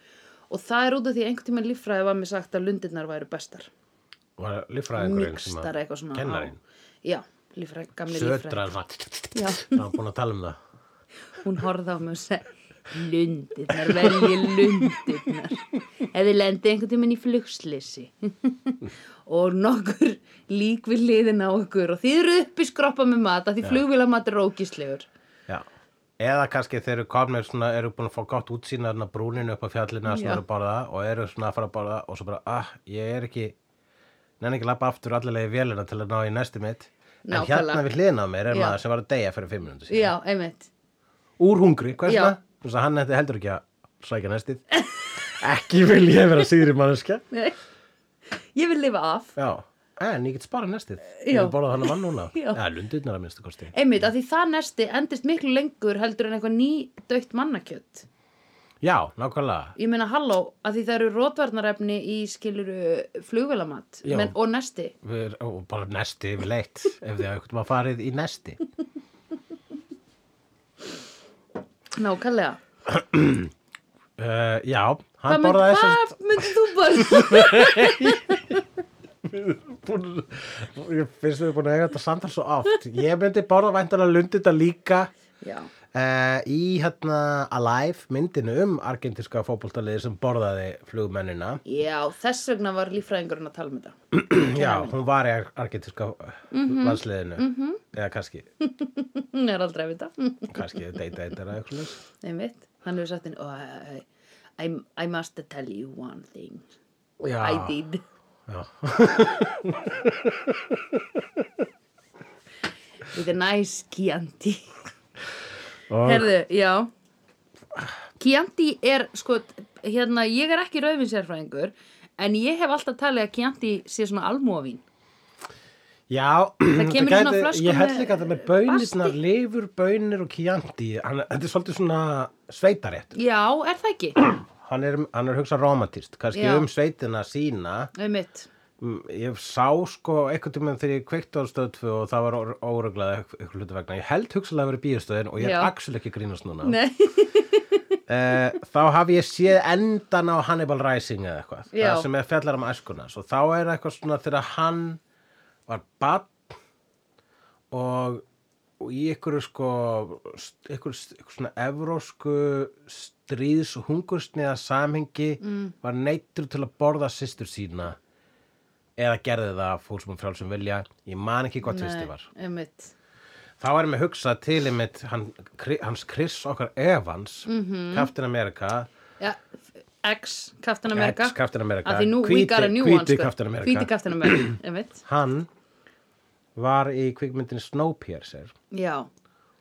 Speaker 1: og það er út af því að einhvern tíma líffræði var mér sagt að lundinnar væru bestar
Speaker 2: var líffræðingurinn sem
Speaker 1: mikstar eitthvað svona á-
Speaker 2: kennarinn,
Speaker 1: já, líffræði, gamli líffræði
Speaker 2: sötrar það
Speaker 1: Já.
Speaker 2: hann búin að tala um það
Speaker 1: hún horfði á mig og segi lundirnar, velji lundirnar ef þið lendi einhvern tímann í flugslissi [laughs] og nokkur lík við liðin á okkur og þið eru uppi skroppa með mat að því flugvélamat er ógíslegur
Speaker 2: Já. Eða kannski þeir eru komnir svona, eru búin að fá gott útsýna þarna brúninu upp á fjallinu sem
Speaker 1: Já.
Speaker 2: eru að borða og eru svona að fara að borða og svo bara, ah, ég er ekki, nenni ekki að lappa aftur allilega í vélina til að ná í næstu mitt. En
Speaker 1: Nákvæmlega.
Speaker 2: hérna við hliðina á mér er
Speaker 1: Já.
Speaker 2: maður sem var að deyja fyrir fimm minúti síðan.
Speaker 1: já, einmitt [laughs]
Speaker 2: Úr hungri, hvað
Speaker 1: Já.
Speaker 2: er það? Þannig að hann ætti heldur ekki að sækja næstið. [laughs] ekki vil ég vera síðri manneskja.
Speaker 1: Nei. ég vil lifa af
Speaker 2: Já, en ég get sparað næstið.
Speaker 1: Já.
Speaker 2: Ég vil borða þannig mann núna.
Speaker 1: [laughs] Já.
Speaker 2: Já, lundirnar að minnstu kosti.
Speaker 1: einmitt, að því það nesti endist miklu lengur heldur en eitthvað nýdautt mannakjött
Speaker 2: Já, nákvæmlega.
Speaker 1: ég meina halló, að því það eru rótvarnarefni í skiluru flugvélamat
Speaker 2: Já.
Speaker 1: menn, og nesti
Speaker 2: Við, og bara nesti við leitt ef þið hafði maður farið í nesti
Speaker 1: Nákvæmlega.
Speaker 2: uh, já,
Speaker 1: Hvað
Speaker 2: hann
Speaker 1: mynd,
Speaker 2: borðaði
Speaker 1: hvað myndir þú borða?
Speaker 2: þess að [laughs] ég finnst við búin að eiga þetta samtal svo oft ég myndi borða væntanlega lundita líka
Speaker 1: Já,
Speaker 2: uh, í hérna Alive myndinu um argentinska fótboltaliði sem borðaði flugmennina [clears throat]
Speaker 1: já, þess vegna var líffræðingurinn að tala um þetta. [laughs]
Speaker 2: já, hún var í ar- argentinska landsliðinu eða kannski,
Speaker 1: Hún er aldrei að vita. [laughs]
Speaker 2: kannski deyta eitt eða eitthvað svoleiðis.
Speaker 1: Nei mitt, hann hefur sagt henni, oh, I, I, I must tell you one thing.
Speaker 2: já,
Speaker 1: I did.
Speaker 2: já.
Speaker 1: With a nice Chianti.
Speaker 2: Og-
Speaker 1: Herðu, já. Chianti er, sko, hérna, ég er ekki rauðvinsérfræðingur, en ég hef alltaf talið að Chianti sé svona almóvín.
Speaker 2: Já, [clears throat] það
Speaker 1: kemur í svona flösku
Speaker 2: ég held
Speaker 1: með
Speaker 2: líka að það með bönirnar,
Speaker 1: plasti.
Speaker 2: lifur, bönir og kjandi, hann, þetta er svolítið svona sveitarétt.
Speaker 1: Já, er það
Speaker 2: [clears throat]
Speaker 1: ekki?
Speaker 2: Hann er, hann er hugsað romantist, kannski
Speaker 1: Já.
Speaker 2: um sveitina sína.
Speaker 1: Nei mitt.
Speaker 2: Mm, Ég sá sko einhvern tímann þegar ég kveikti á stöðfu og það var óreglað eitthvað hlutu vegna. Ég held hugsaðlega verið bíastöðin og ég
Speaker 1: Já.
Speaker 2: er axil ekki að grínast núna.
Speaker 1: Nei.
Speaker 2: [laughs] Eh, þá hafi ég séð endan á Hannibal Rising eða eitthvað
Speaker 1: Já.
Speaker 2: það sem er fjallar um æskuna svo þá er eitthvað svona þegar hann var bann og, og í einhverju sko st- einhverju st- einhverju svona evrósku stríðs og hungursniða samhengi mm. var neittur til að borða systur sína eða gerði það fólk sem frálsum vilja ég man ekki hvað tvisti var
Speaker 1: Nei mitt.
Speaker 2: Þá erum við hugsað til einmitt hann, Kri- hans Chris okkar Evans, mm
Speaker 1: Mhm.
Speaker 2: -hmm. Captain America,
Speaker 1: Já, X, Captain America.
Speaker 2: X Captain America,
Speaker 1: Að því nú we got a new one,
Speaker 2: hvíti
Speaker 1: sko.
Speaker 2: Captain America,
Speaker 1: Hvíti
Speaker 2: [clears throat]
Speaker 1: Captain America, einmitt.
Speaker 2: hann var í kvikmyndinni Snowpiercer.
Speaker 1: Já,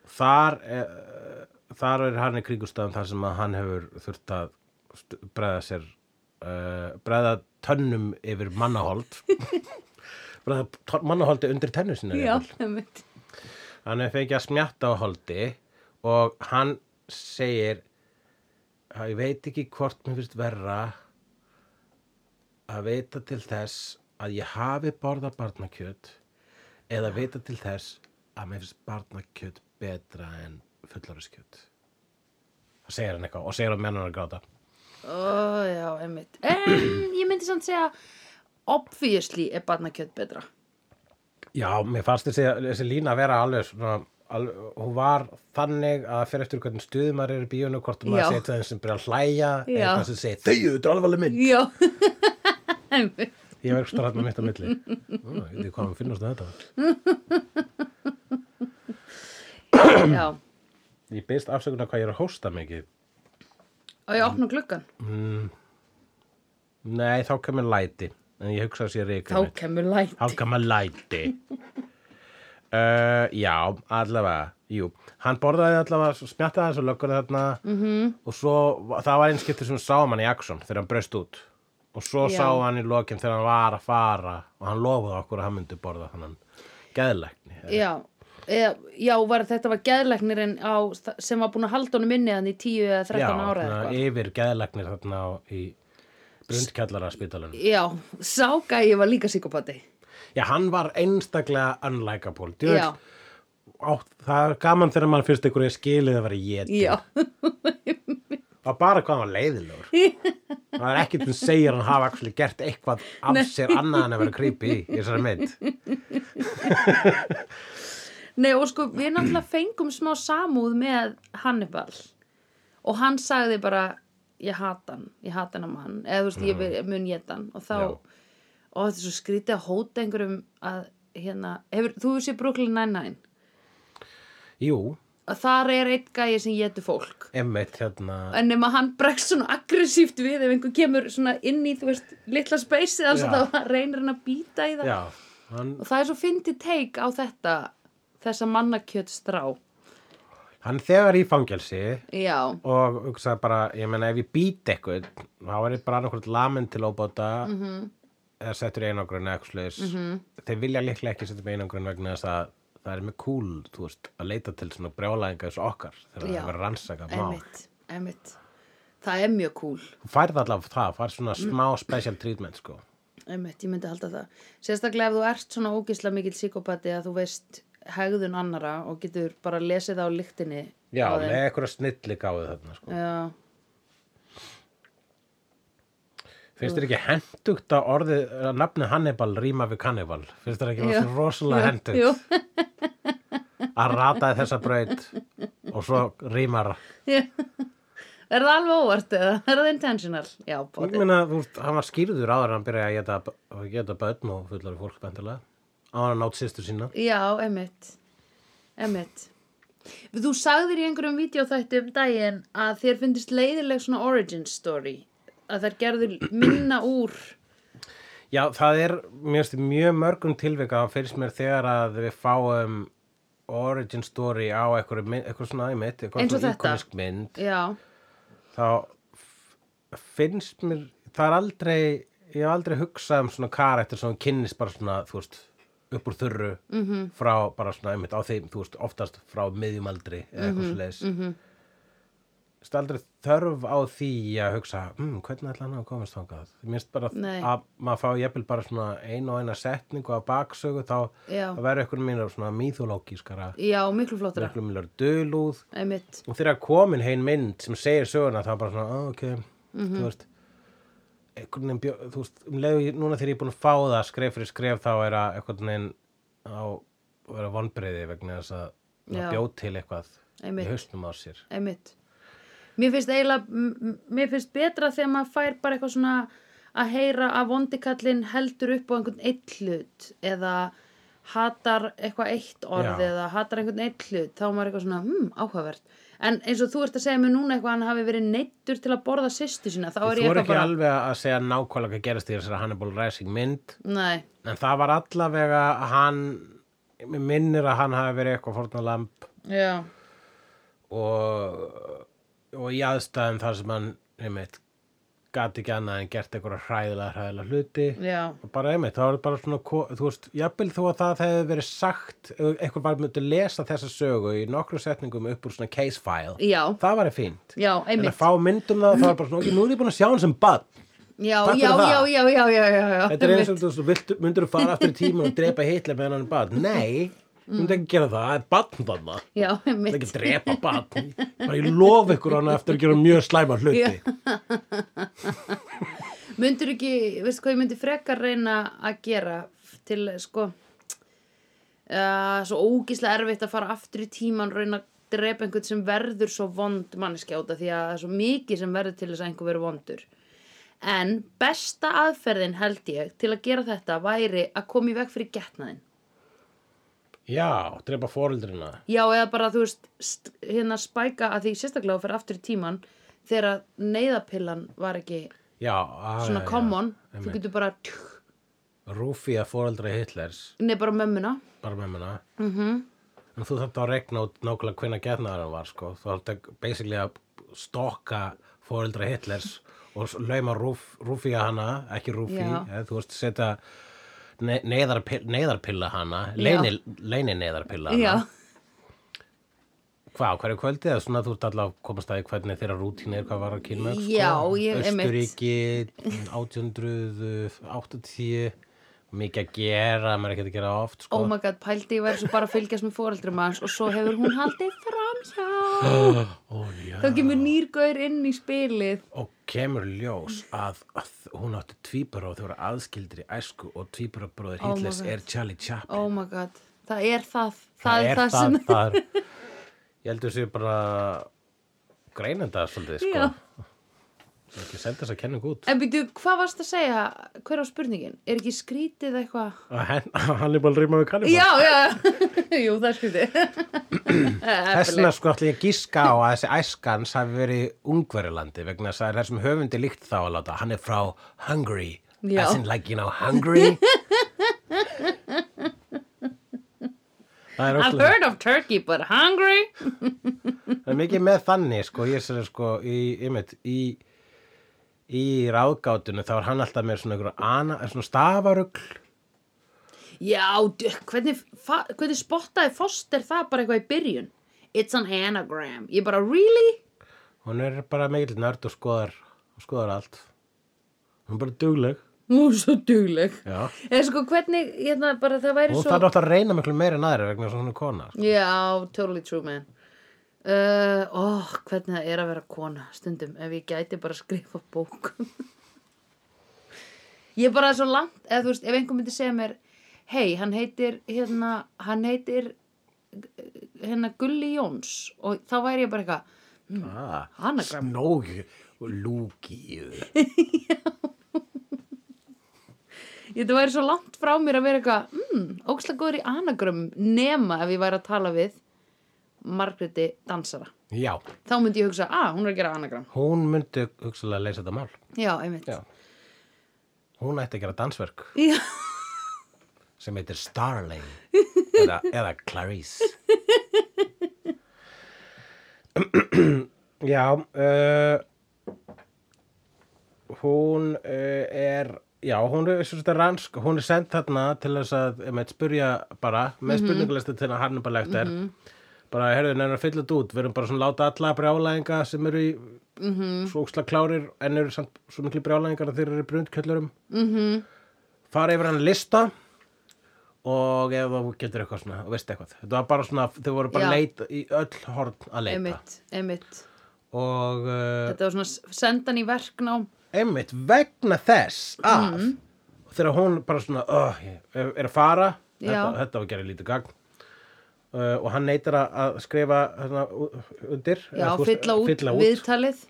Speaker 2: Þar, uh, þar er hann í kringustafum þar sem að hann hefur þurft að st- bregða sér, uh, bregða tönnum yfir mannahold, bregða tönn- mannaholdi undir tennu sinna.
Speaker 1: já, einmitt.
Speaker 2: hann hefur fengið að smjatta á holdi og hann segir að ég veit ekki hvort mér finnst verra að veita til þess að ég hafi borða barnakjöt eða veita til þess að mér finnst barnakjöt betra en fullariskjöt það segir hann eitthvað og segir að menn hann er að gráta
Speaker 1: Ó, já, einmitt. En ég myndi samt segja, obviously er barnakjöt betra.
Speaker 2: já, mér fannst þessi, þessi lína að vera alveg svona alveg, hún var þannig að fyrir eftir hvernig stuðum maður er í bíónu hvort
Speaker 1: Já.
Speaker 2: maður segir til þeim sem byrja að hlæja
Speaker 1: Já.
Speaker 2: eða það sem segir þau, þetta er alvarleg mynd
Speaker 1: Já, [laughs] einmitt.
Speaker 2: Ég var ekki starfðan mitt á milli. Ó, Ég veit ekki hvað hann finnast að þetta.
Speaker 1: Já,
Speaker 2: Ég beist afsökunar hvað ég er að hósta mikið.
Speaker 1: og ég opna gluggan.
Speaker 2: Nei, þá kemur læti. En ég hugsa að sé reykja
Speaker 1: Þá
Speaker 2: mitt.
Speaker 1: kemur læti.
Speaker 2: Þá kemur læti. [laughs] Uh, já, allavega. Jú, hann borðaði allavega, smjattaði þessu löggur þarna
Speaker 1: Mhm.
Speaker 2: -hmm. og svo, það var einskipti sem sáum hann í Axon þegar hann braust út. Og svo
Speaker 1: Já.
Speaker 2: sá hann í lokin þegar hann var að fara og hann lofaði okkur að hann myndi borða þannan geðlækni.
Speaker 1: Já, eða, já var, þetta var geðlæknirinn á, sem var búin að halda honum inni hann í 10 eða 13 ára eða
Speaker 2: þarna
Speaker 1: eitthvað.
Speaker 2: yfir geðlagnir þarna á, í brundkjallara spítalunum.
Speaker 1: Já, sáka ég var líka psykopati.
Speaker 2: Já, hann var einstaklega unlikeable. Djöfull,
Speaker 1: Já,
Speaker 2: Á, það er gaman þegar mann fyrst ykkur er skilið að vera jétin.
Speaker 1: já,
Speaker 2: Og bara hvað hann var leiðilegur. það er ekkert sem segir að hann hafa actually gert eitthvað af sér annað en að vera creepy í þessari mynd.
Speaker 1: Nei og sko við náttúrulega fengum smá samúð með Hannibal og hann sagði bara ég hata hann, ég hata hann að mann eða þú veist, ég vil- mun geta hann og þá,
Speaker 2: Mm. Já.
Speaker 1: og þetta er svo skrítið að hóta einhverjum að, hérna hefur, þú hefur séð Brooklyn Nine-Nine
Speaker 2: Jú,
Speaker 1: að þar er einn gæi sem getur fólk
Speaker 2: emmitt hérna
Speaker 1: en nema hann bregst svona aggressíft við ef einhver kemur svona inn í, þú veist, litla speysið alls
Speaker 2: Já.
Speaker 1: að það reynir hann að býta í það
Speaker 2: Já, hann,
Speaker 1: og það er svo fyndið teik á þetta þessa mannakjöt strá
Speaker 2: hann þegar í fangelsi
Speaker 1: já,
Speaker 2: og hugsaði bara, ég meina ef ég být eitthvað þá er ég bara annarkvort lamin til óbóta eða settur í einangrun eða eitthvað slags þeir vilja líklega ekki setja með einangrun vegna þess að það er mjög cool þú veist, að leita til svona brjálæðinga þessu okkar þegar það
Speaker 1: Já.
Speaker 2: er verið að rannsaka mál
Speaker 1: emitt, emitt það er mjög cool,
Speaker 2: færð allavega það, færð svona smá special treatment sko
Speaker 1: emitt, ég myndi halda það sérstaklega ef þú ert svona ógisla mikill psíkopati að þú veist hegðun annara og getur bara lesið á lyktinni
Speaker 2: Já,
Speaker 1: á þeim.
Speaker 2: með eitthvað snilli gáðu þarna sko.
Speaker 1: já,
Speaker 2: Finnst þér ekki hendugt að orðið, að nafnið Hannibal rýma við Cannibal? Finnst þér ekki
Speaker 1: Jú.
Speaker 2: svona rosalega hendugt
Speaker 1: jú,
Speaker 2: að rataði þessa braut og svo rýmar
Speaker 1: já [laughs] er það alveg óvart eða er það intentional já,
Speaker 2: Ég
Speaker 1: bóti,
Speaker 2: meina, þú veist, hann var skýrður áður en hann byrjaði að geta, að geta börn og fullari fólk bendilega. Áður en hann nátt sýstur sína.
Speaker 1: já, emitt emitt Þú sagðir í einhverjum vídeoþætti um daginn að þér finnist leiðileg svona origin story að þær gerður minna úr
Speaker 2: Já, það er, mér finnst, í mjög mörgum tilvika og finnst mér þegar að við fáum origin story á einhverju mynd- einhverju svona í mitt,
Speaker 1: Eins og
Speaker 2: svona
Speaker 1: þetta.
Speaker 2: íkonisk mynd,
Speaker 1: Já,
Speaker 2: þá f- finnst mér, það er aldrei, ég hef aldrei hugsað um svona karakter sem kynnist bara svona, þú veist, upp úr þurru
Speaker 1: Mhm.
Speaker 2: -hmm. frá bara svona einmitt á þeim, þú veist, oftast frá miðjumaldri eða
Speaker 1: Mhm,
Speaker 2: eitthvað svo leiðis. Mm -hmm. aldrei þörf á því að hugsa, mm, hvernig ætla hann að komast þangað? Mér finnst bara
Speaker 1: Nei.
Speaker 2: að maður fá jafnvel bara svona einu og eina setningu af baksögu þá
Speaker 1: Já.
Speaker 2: það verður eitthvað mínir svona um míþológískara,
Speaker 1: já, miklu flóttara
Speaker 2: eitthvað mínir dölúð
Speaker 1: Einmitt,
Speaker 2: og þegar komin heim mynd sem segir söguna þá bara svona, "Ah, ok,
Speaker 1: Mhm.
Speaker 2: þú veist einhvern veginn bjó, þú veist, um leiðu, ég- núna þegar ég er búin að fá það skref fyrir skref þá er að einhvern veginn á að vera vonbreiði vegna þess að
Speaker 1: Já.
Speaker 2: maður bjóð til eitthvað
Speaker 1: Einmitt.
Speaker 2: í haustum á sér
Speaker 1: einmitt Mér finnst eiginlega, m- m- mér finnst betra þegar maður fær bara eitthvað svona að heyra að vondikallin heldur upp á einhvern eitt hlut eða hatar eitthvað eitt
Speaker 2: Já.
Speaker 1: orð eða hatar einhvern eitt hlut þá er maður eitthvað svona, hm, áhugavert en eins og þú ert að segja mér núna eitthvað að hann hafi verið neittur til að borða sýstu sína þá
Speaker 2: Þú
Speaker 1: er ég
Speaker 2: er
Speaker 1: eitthvað
Speaker 2: ekki
Speaker 1: bara
Speaker 2: alveg að segja nákvæmlega hvað gerist í þessari Hannibal Rising mynd
Speaker 1: Nei,
Speaker 2: en það var allavega að hann mér minnir að hann hafi verið eitthvað fórnalamb
Speaker 1: já,
Speaker 2: og, og í aðstæðum þar sem hann einmitt gat ekki annað en gert einhverja hræðilega hræðilega hluti
Speaker 1: já,
Speaker 2: og bara einmitt, það var bara svona ko- þú veist, jafnvel þó að það hefði verið sagt einhver bara myndi lesa þessa sögu í nokkru setningum upp úr svona case file
Speaker 1: já,
Speaker 2: það var fínt
Speaker 1: já,
Speaker 2: en að
Speaker 1: einmitt
Speaker 2: fá myndum það, það var bara svona ok, nú er ég búin að sjá hann sem bad
Speaker 1: Já,
Speaker 2: Takk fyrir
Speaker 1: já, já,
Speaker 2: það.
Speaker 1: já, já, já, já, já
Speaker 2: þetta er eins og þú veist, myndur þú fara aftur í tíma og drepa hitla meðan hann er bad nei, myndi ekki gera það, það er badn þarna
Speaker 1: Já,
Speaker 2: Það er
Speaker 1: einmitt
Speaker 2: ekki að drepa barn bara ég lof ykkur hann eftir að gera mjög slæma hluti
Speaker 1: Já. Myndur ekki, veistu hvað ég myndi frekar reyna að gera til sko uh, svo ógíslega erfitt að fara aftur í tíman reyna að drepa einhvern sem verður svo vond mannskjáta því að það er svo mikið sem verður til þess að einhver verður vondur. En besta aðferðin held ég til að gera þetta væri að koma í veg fyrir getnaðin.
Speaker 2: Já, drepa fóreldrina
Speaker 1: Já, eða bara þú veist, st- hérna spæka að því sérstaklega að fara aftur í tíman þegar að neyðapillan var ekki
Speaker 2: Já, að,
Speaker 1: svona common, þú getur bara
Speaker 2: Rúfi að fóreldra Hitlers
Speaker 1: nefn bara mömmuna
Speaker 2: bara með muna mm
Speaker 1: Mhm.
Speaker 2: -hmm. en þú þarft að regna út nákvæmlega hvenna getnaðar hann var sko. þú þarft að basically að stokka fóreldra Hitlers og s- lauma Rúf, Rúfi að hana ekki Rúfi,
Speaker 1: Já.
Speaker 2: eða, þú veist setja ne neyðarpilla, neyðarpilla hana leini, leini neyðarpilla hana
Speaker 1: Já,
Speaker 2: Hvað, á hverju kvöldi eða svona þú ert alltaf að komast að því hvernig þeirra rútínu er hvað var að kynna sko?
Speaker 1: Já, ég- einmitt.
Speaker 2: Östuríki, 1880 mikið að gera, maður er ekki að gera oft sko.
Speaker 1: oh my god, pældi ég væri svo bara að fylgjast með fóreldrum hans og svo hefur hún haldið framhjá
Speaker 2: Ó, já.
Speaker 1: þá kemur nýrgaur inn í spilið
Speaker 2: og kemur ljós að, að hún átti tvíbara og þau voru aðskildir í æsku og tvíbarabróðir
Speaker 1: Oh my
Speaker 2: Hitlers
Speaker 1: God.
Speaker 2: er Charlie Chaplin
Speaker 1: oh my god, það er það það,
Speaker 2: það
Speaker 1: [laughs] er það, sem
Speaker 2: það, það er, ég heldur sér bara greinenda svolítið sko
Speaker 1: Já.
Speaker 2: Svo ekki senda þess að kenningu út
Speaker 1: En býtu, hvað varst að segja? Hver var spurningin? Er ekki skrítið eitthvað?
Speaker 2: að henn, Hannibal rýma við Kannibal
Speaker 1: Já, [laughs] já, jú, það er skrítið. [laughs]
Speaker 2: Þess vegna sko ætla ég að gíska á að þessi æskans hafi verið í Ungverjalandi vegna þess að það er sem höfundi líkt þá að láta hann er frá Hungary
Speaker 1: Já.
Speaker 2: as in like you know Hungary Það er
Speaker 1: I've
Speaker 2: ótrúlega
Speaker 1: heard of Turkey but hungry.
Speaker 2: Það er mikið með þannig sko, ég sér sko í, einmitt, í, í ráðgátunum þá er hann alltaf með svona, einhverju ana, svona stafarugl
Speaker 1: Já, d- hvernig, fa- hvernig spottaði Foster það bara eitthvað í byrjun? It's an anagram. Ég bara, really?
Speaker 2: hún er bara mikil nörd og skoðar, og skoðar allt hún er bara dugleg
Speaker 1: Nú, svo dugleg.
Speaker 2: Já.
Speaker 1: Eða sko, hvernig, hérna, bara það væri
Speaker 2: og
Speaker 1: svo...
Speaker 2: það er náttúrulega að reyna miklu meira en aðra vegna svona kona sko.
Speaker 1: Já, totally true man uh, Ó, hvernig það er að vera kona stundum ef ég gæti bara að skrifa bók [laughs] Ég er bara svo langt eða þú veist, ef einhver myndi segja mér hei, hann heitir hérna, hann heitir hérna Gulli Jóns og þá væri ég bara eitthvað
Speaker 2: ah,
Speaker 1: anagram
Speaker 2: snóg og lúkið
Speaker 1: Ég þetta væri svo langt frá mér að vera eitthvað mm, ókslega góður í anagram nema ef ég væri að tala við Margréti dansara
Speaker 2: já,
Speaker 1: þá myndi ég hugsa, að ah, hún er að gera anagram
Speaker 2: hún myndi hugsalega leysa þetta mál
Speaker 1: Já, einmitt
Speaker 2: Já. hún ætti að gera dansverk
Speaker 1: Já.
Speaker 2: sem heitir Starling eða, eða Clarice Já uh, hún uh, er já, hún er svona rannsk hún er send þarna til þess að með spyrja bara,
Speaker 1: Mhm.
Speaker 2: með spurningalista til að hann bara legt er bara, herðu, nefnir að fylla þetta út við erum bara svona að láta alla brjálæðinga sem eru í mm
Speaker 1: Mhm.
Speaker 2: -hmm. svo óksla klárir en eru samt svo miklu brjálæðingar að þeir eru í brundkjöllurum mm
Speaker 1: Mhm.
Speaker 2: -hmm. fara yfir hann lista og ef þú getur eitthvað svona og veist eitthvað, þetta var bara svona þau voru bara
Speaker 1: Já.
Speaker 2: leit í öll horn að leita
Speaker 1: [laughs] Einmitt, einmitt.
Speaker 2: og uh,
Speaker 1: Þetta var svona s- sendan í verknám.
Speaker 2: einmitt vegna þess að
Speaker 1: Mhm.
Speaker 2: þegar hún bara svona uh, er er að fara
Speaker 1: Já.
Speaker 2: þetta, þetta var að gera lítið gagn uh, og hann neytir að- að skrifa hérna, u- undir
Speaker 1: Já,
Speaker 2: eða þú veist,
Speaker 1: fylla út,
Speaker 2: fylla út.
Speaker 1: viðtalið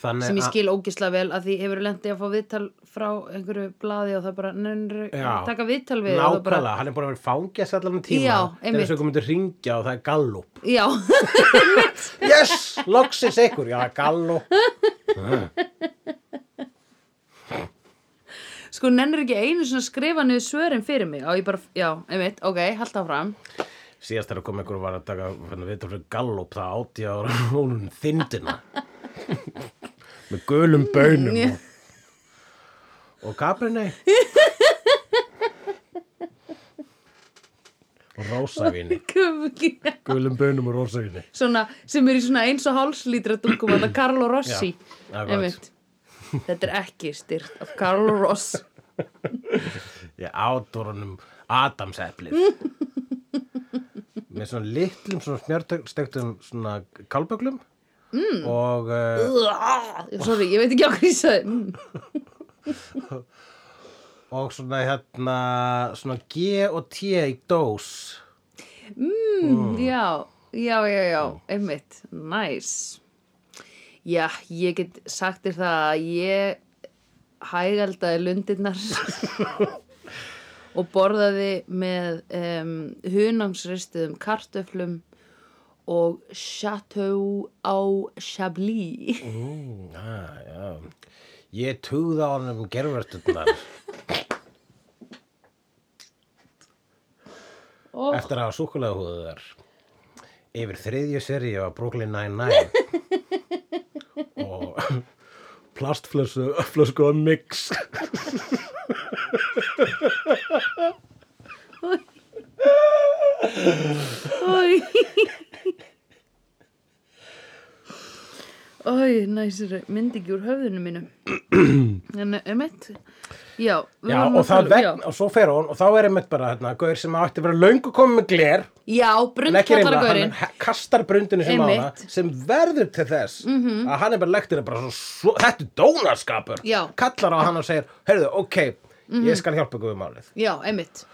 Speaker 2: Þannig
Speaker 1: sem ég
Speaker 2: að-
Speaker 1: skil ógislega vel að því hefur lendið að fá viðtal frá einhverju blaði og það bara nennir
Speaker 2: Já.
Speaker 1: taka viðtal við og það
Speaker 2: nákvæmlega,
Speaker 1: bara,
Speaker 2: hann er búin að vera fangast allan um tíma
Speaker 1: Já,
Speaker 2: þegar
Speaker 1: einmitt.
Speaker 2: þessu komið til að ringja og það er gallup
Speaker 1: Já, [laughs]
Speaker 2: Yes, loksins ykkur, já, gallu
Speaker 1: sko nennir ekki einu svona skrifa niður svörin fyrir mig og ég bara, já, einmitt, ok, hald það [laughs] fram
Speaker 2: Síðast þegar kom ykkur og var að taka hérna, við fyrir gallup það átti á rúnum þindina með gulum bönum og, og kaprinni og rósavíni gulum bönum og rósavíni
Speaker 1: svona, sem er í svona eins og hálslítra dungum að það Carlo Rossi
Speaker 2: Já, akkurat.
Speaker 1: einmitt, þetta er ekki styrt af Carlo Ross
Speaker 2: ég ádórunum Adamseplið með svona litlum svona smjörtökstektum svona kálböglum mm. og uh,
Speaker 1: Sorry, ég veit ekki á hvað ég sagði Mm.
Speaker 2: og svona hérna svona G og T í dós
Speaker 1: mm, Já, já, já, já, einmitt, næs. Já, ég get sagt þér það að ég hægaldaði lundirnar og borðaði með um, hunangsristuðum kartöflum og Chateau á Chablis.
Speaker 2: mm, ah, já. ég túða á hann um [laughs] gerfurstundar
Speaker 1: Og
Speaker 2: eftir að hafa súkulega húðu þar yfir þriðju seri af Brooklyn Nine-Nine og [laughs] plastflösku flösku að mix
Speaker 1: Ói Ói, næsir myndi ekki úr höfðinu mínu En emitt Já, við
Speaker 2: Já,
Speaker 1: vorum að
Speaker 2: og það
Speaker 1: tala-
Speaker 2: vegna,
Speaker 1: já.
Speaker 2: og svo fer hún og þá er einmitt bara hérna, gaur sem átti að vera löngu komið með gler
Speaker 1: Já,
Speaker 2: en ekki reyna,
Speaker 1: brundkallaragurinn
Speaker 2: hann he- kastar brundinu sem á hana
Speaker 1: Einmitt. Mhm.
Speaker 2: sem verður til þess að hann er bara lektir bara svo, svo, þetta er dónaskapur
Speaker 1: Já. Mhm.
Speaker 2: kallar á hann og segir, heyrðu, ok ég skal hjálpa ykkur við málið
Speaker 1: Já, emitt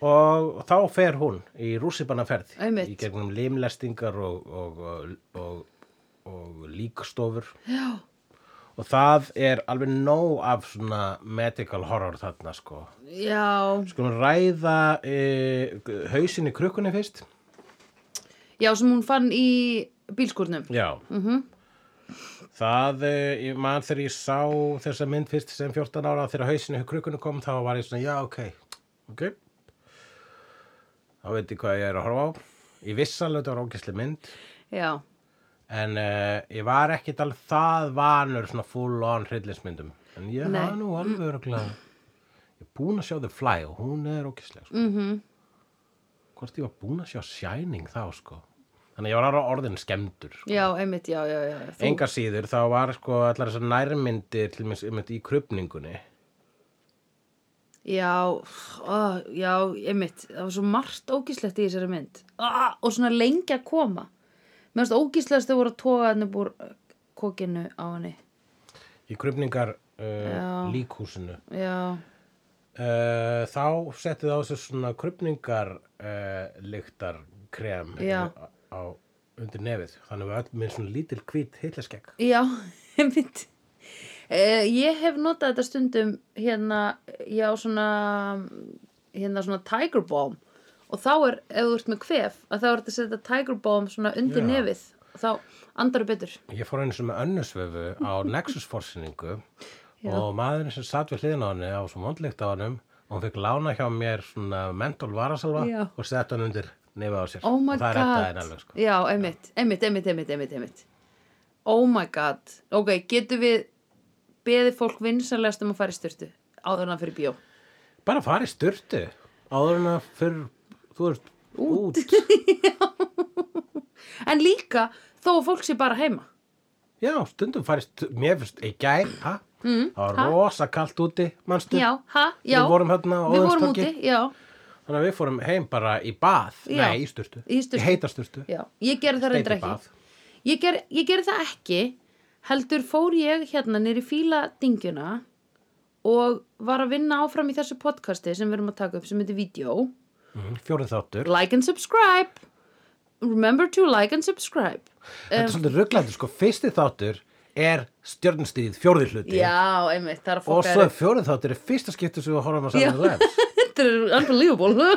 Speaker 2: og þá fer hún í rússipannaferð
Speaker 1: Einmitt.
Speaker 2: í gegnum limlestingar og, og, og, og, og líkstofur
Speaker 1: já,
Speaker 2: og það er alveg nóg af svona medical horror þarna sko
Speaker 1: já,
Speaker 2: skulum ræða e, hausin í krukkunni fyrst
Speaker 1: já, sem hún fann í bílskúrnum.
Speaker 2: já
Speaker 1: Mhm.
Speaker 2: það, eh, ég man þegar ég sá þessa mynd fyrst sem 14 ára þegar hausin í krukkunni kom þá var ég svona já ok, ok þá veit ég hvað ég er að horfa á ég viss alveg þetta var ógæsli mynd
Speaker 1: Já,
Speaker 2: en uh, ég var ekkit alveg það vanur svona full on hryllinsmyndum en ég
Speaker 1: Nei.
Speaker 2: hafa nú alveg öruglega ég er búin að sjá The Fly og hún er ókislega sko.
Speaker 1: mhm,
Speaker 2: hvort ég var búin að sjá Shining þá sko þannig að ég var alveg orðin skemmtur sko.
Speaker 1: já, einmitt, já, já, já. Þú,
Speaker 2: enga síður þá var sko allar þessar nærmyndir til mér um í krupningunni
Speaker 1: Já, ó, já, einmitt, það var svo margt ógíslegt í þessari mynd. Ah, og svona lengi að koma. Mér finnst ógíslegast þau voru að toga henni búr kokinu á henni.
Speaker 2: í krupningar
Speaker 1: Já.
Speaker 2: uh, líkhúsinu
Speaker 1: Já,
Speaker 2: uh, þá setti það á þessu svona krupningar uh, lyktar krem
Speaker 1: Já.
Speaker 2: á, á undir nefið þannig að við öll með svona lítil hvít hitlaskegg
Speaker 1: já, [laughs] einmitt. Eh, ég hef notað þetta stundum hérna, já, svona, hérna svona Tiger Balm. Og þá er, ef þú ert með kvef, að þá er þetta að setja Tiger Balm svona undir
Speaker 2: Já.
Speaker 1: nefið. Þá andar betur.
Speaker 2: Ég fór einu sem með önnusvefu
Speaker 1: [laughs]
Speaker 2: á Nexus-forsyningu
Speaker 1: Já.
Speaker 2: og maðurinn sem satt við hliðin á henni á svo mondlíkt á hennum og hún fekk lána hjá mér svona mentól varasalva
Speaker 1: Já.
Speaker 2: og sett hann undir nefið á sér
Speaker 1: oh my
Speaker 2: og það
Speaker 1: god
Speaker 2: rettaði henni alveg sko.
Speaker 1: já, einmitt, einmitt, einmitt, einmitt, einmitt, einmitt oh my god ok, getum við beðið fólk vinsanlegast um að fara í styrtu áður en það fyrir bíó
Speaker 2: Bara fara í sturtu áður en að fyrr þú ert út,
Speaker 1: en líka þó að fólk sé bara heima
Speaker 2: Já, stundum fara í sturtu mér finnst, í gær, ha? Mm, það
Speaker 1: ha?
Speaker 2: var rosa kalt úti, manstu
Speaker 1: já, ha, já,
Speaker 2: Við vorum hérna á
Speaker 1: Við vorum úti
Speaker 2: Óðinstorgi.
Speaker 1: já,
Speaker 2: Þannig að við fórum heim bara í bað
Speaker 1: Já.
Speaker 2: Nei, í sturtu,
Speaker 1: Í sturtu.
Speaker 2: heita sturtu
Speaker 1: já, ég gerði það reyndar
Speaker 2: Steypibað.
Speaker 1: ekki ég, ger, ég gerði það ekki heldur fór ég hérna nýri fíla dingjuna og var að vinna áfram í þessu podcasti sem við erum að taka upp sem heitir Vídeó
Speaker 2: Mm, Fjórið þáttur
Speaker 1: like and subscribe remember to like and subscribe
Speaker 2: Þetta er svolítið rugglandur, sko, fyrsti þáttur er stjörnustíð fjórði hluti
Speaker 1: já, einmitt, það er [laughs] að
Speaker 2: og
Speaker 1: fokka
Speaker 2: svo er fjórði þáttur er fyrsta skipti sem við horfum að
Speaker 1: Já.
Speaker 2: saman lefs.
Speaker 1: [laughs] þetta er unbelievable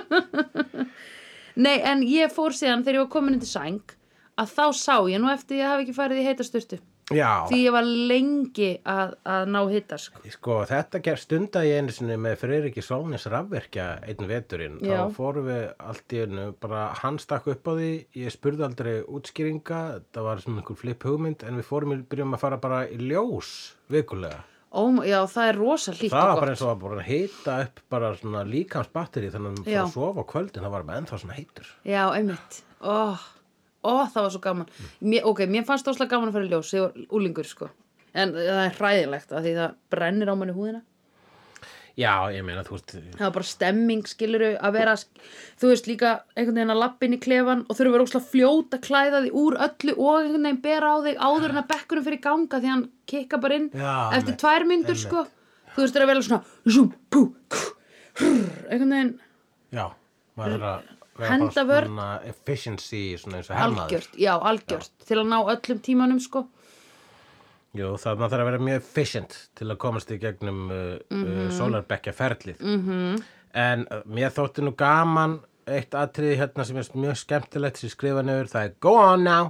Speaker 1: [laughs] nei, en ég fór síðan þegar ég var komin undir sæng að þá sá ég nú eftir ég hafi ekki farið í heita sturtu
Speaker 2: Já,
Speaker 1: því ég var lengi að, að ná hita sko.
Speaker 2: sko, þetta ger stunda ég einu sinni með Freyriki Sólnis rafverkja einn veturinn.
Speaker 1: Já.
Speaker 2: Þá fórum við allt í einu, bara hann stakk upp á því, ég spurði aldrei útskýringa, það var sem einhver flip hugmynd, en við fórum í byrjum að fara bara í ljós vikulega.
Speaker 1: Ó, já, það er rosa hlýtt
Speaker 2: Það var
Speaker 1: og
Speaker 2: bara
Speaker 1: gott
Speaker 2: eins og að bara hita upp bara svona líkamsbatteri þannig að
Speaker 1: Já.
Speaker 2: maður fór að sofa á kvöldin, það var með ennþá svona heitur.
Speaker 1: já, einmitt ó, ó, það var svo gaman mér, ok, mér fannst það gaman að fara í ljós ég var úlingur sko en það er hræðilegt að því það brennir á manni húðina
Speaker 2: Já, ég meina, þú veist,
Speaker 1: það var bara stemming, skiluru, að vera þú veist líka einhvern veginn að lappa inn í klefan og þurfa að vera óslega fljót að klæða þig úr öllu og einhvern veginn bera á þig áður en að bekkunum fyrir ganga því hann kikka bara inn
Speaker 2: Já,
Speaker 1: eftir
Speaker 2: einmitt,
Speaker 1: tvær myndur sko þú veist það er að vera svona zoom, bú, kú, hrrr, einhvern veginn
Speaker 2: Já, maður er að vera
Speaker 1: Henda
Speaker 2: bara
Speaker 1: vörn.
Speaker 2: svona efficiency svona eins og hermaður.
Speaker 1: algjört, já algjört til að ná öllum tímanum sko
Speaker 2: Jú, það maður þarf að vera mjög efficient til að komast í gegnum uh, uh, solarbekja ferlið. -hmm. En uh, mér þótti nú gaman eitt atriði hérna sem er mjög skemmtilegt sem ég skrifa niður, það er go on now.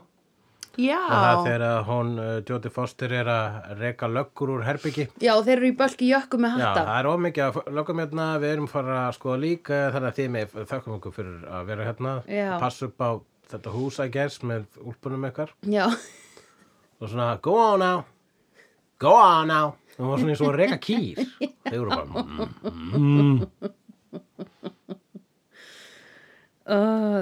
Speaker 2: Og það er
Speaker 1: já,
Speaker 2: þegar að hún, uh, Jóti Foster, er að reka löggur úr herbyggi.
Speaker 1: já og þeir eru í bölki jökku með
Speaker 2: Já,
Speaker 1: hatta
Speaker 2: það er ómikið að lögum hérna, við erum fara að skoða líka, þannig að þið með þakkum ykkur fyrir að vera hérna.
Speaker 1: Já.
Speaker 2: Passa upp á þetta hús að gerst með úlpunum ykkar.
Speaker 1: já,
Speaker 2: og svona go on now go on now það var svona eins og að reka kýr þau voru bara mm,
Speaker 1: Ó,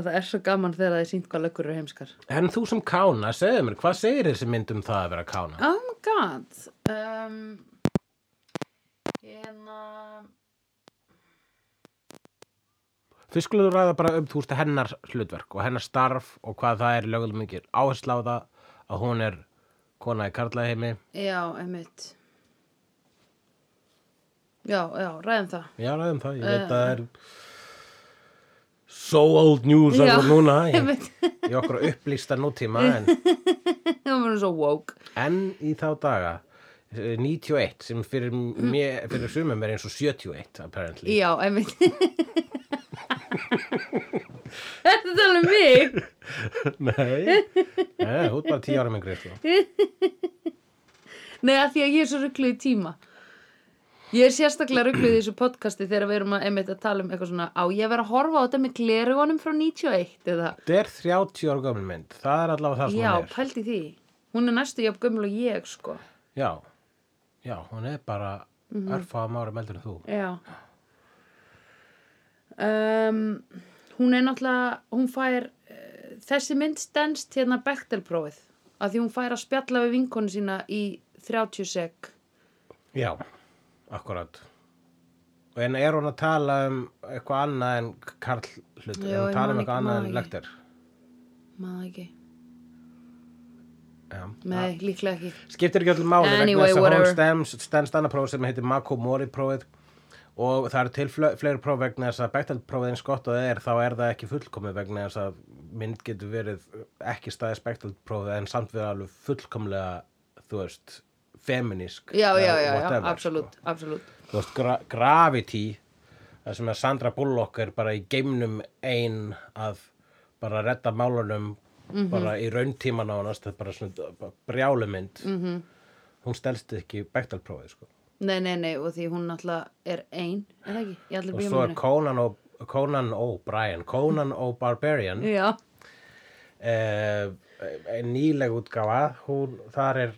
Speaker 1: það er svo gaman þegar það er sínt hvað löggur eru heimskar
Speaker 2: en þú sem kána, segðu mér, hvað segir þessi mynd um það að vera kána?
Speaker 1: Oh my god um, Hérna
Speaker 2: Fyrst skulum við ræða bara um þú veist hennar hlutverk og hennar starf og hvað það er lögulega mikið áhersla á það að hún er kona í karlæðheimi
Speaker 1: Já, einmitt Já, já, ræðum það
Speaker 2: já, ræðum það, ég veit að það er so old news
Speaker 1: Já,
Speaker 2: alveg núna í,
Speaker 1: einmitt
Speaker 2: í okkur upplýsta nútíma en
Speaker 1: það var svo woke
Speaker 2: En í þá daga, eh, 91, sem fyrir,
Speaker 1: Mm.
Speaker 2: mér, fyrir sumum er eins og 71, apparently.
Speaker 1: Já, einmitt Þetta er alveg um mig
Speaker 2: [laughs] Nei, Nei, þú ert bara 10 ára
Speaker 1: [laughs]
Speaker 2: mingri, sko.
Speaker 1: Nei, að því að ég er svo ruggluð í tíma Ég er sérstaklega ruggluð í þessu podcasti þegar við erum að, einmitt að tala um eitthvað svona á ég að vera að horfa á þetta með glerugunum frá 91 eða
Speaker 2: Þetta er 30 ára gömul mynd, það er allavega það sem
Speaker 1: Já,
Speaker 2: hún er.
Speaker 1: pældi því Hún er næstu jafn gömul og ég, sko
Speaker 2: Já, já, hún er bara
Speaker 1: Mhm.
Speaker 2: mm -hmm. örfaðum árum eldur en þú.
Speaker 1: Já um, Hún er náttúrulega hún fær, eh, þessi mynd stendst hérna Bechtelprófið að því hún fær að spjalla við vinkonu sína í 30 sek
Speaker 2: Já, akkurat. En er hún að tala um eitthvað annað en Karl hlutur? Er
Speaker 1: Já,
Speaker 2: hún
Speaker 1: ég
Speaker 2: að tala
Speaker 1: man
Speaker 2: um
Speaker 1: ekki-
Speaker 2: eitthvað
Speaker 1: man
Speaker 2: annað en
Speaker 1: ekki.
Speaker 2: lektir?
Speaker 1: maður ekki,
Speaker 2: Já.
Speaker 1: nei, líklega ekki
Speaker 2: Skiptir ekki öll máli
Speaker 1: Anyway,
Speaker 2: vegna þess að
Speaker 1: whatever.
Speaker 2: hún stemst, stemst annað próf sem heitir Makomori prófið og það eru til fle- fleiri próf vegna þess að Bechtel prófið eins gott og það er þá er það ekki fullkomið vegna þess að mynd getur verið ekki staðis Bechtel prófið en samt verið alveg fullkomlega þú veist, feminísk
Speaker 1: Já, já,
Speaker 2: eða
Speaker 1: já, já,
Speaker 2: whatever, sko.
Speaker 1: absolutt, absolutt
Speaker 2: þú veist, gra Gravity það sem að Sandra Bullock er bara í geimnum ein að bara redda málunum bara í rauntíman á hann það er bara svona brjálumynd mm -hmm. hún stelst ekki Bechtelprófið sko.
Speaker 1: Nei, nei, nei, og því hún náttúrulega er ein er það ekki, ég ætla
Speaker 2: og
Speaker 1: að
Speaker 2: svo er
Speaker 1: býja
Speaker 2: Conan og Conan O'Brien, Conan O'Barbarian
Speaker 1: mér Já,
Speaker 2: eh, eh, nýleg útgáfa hún, þar er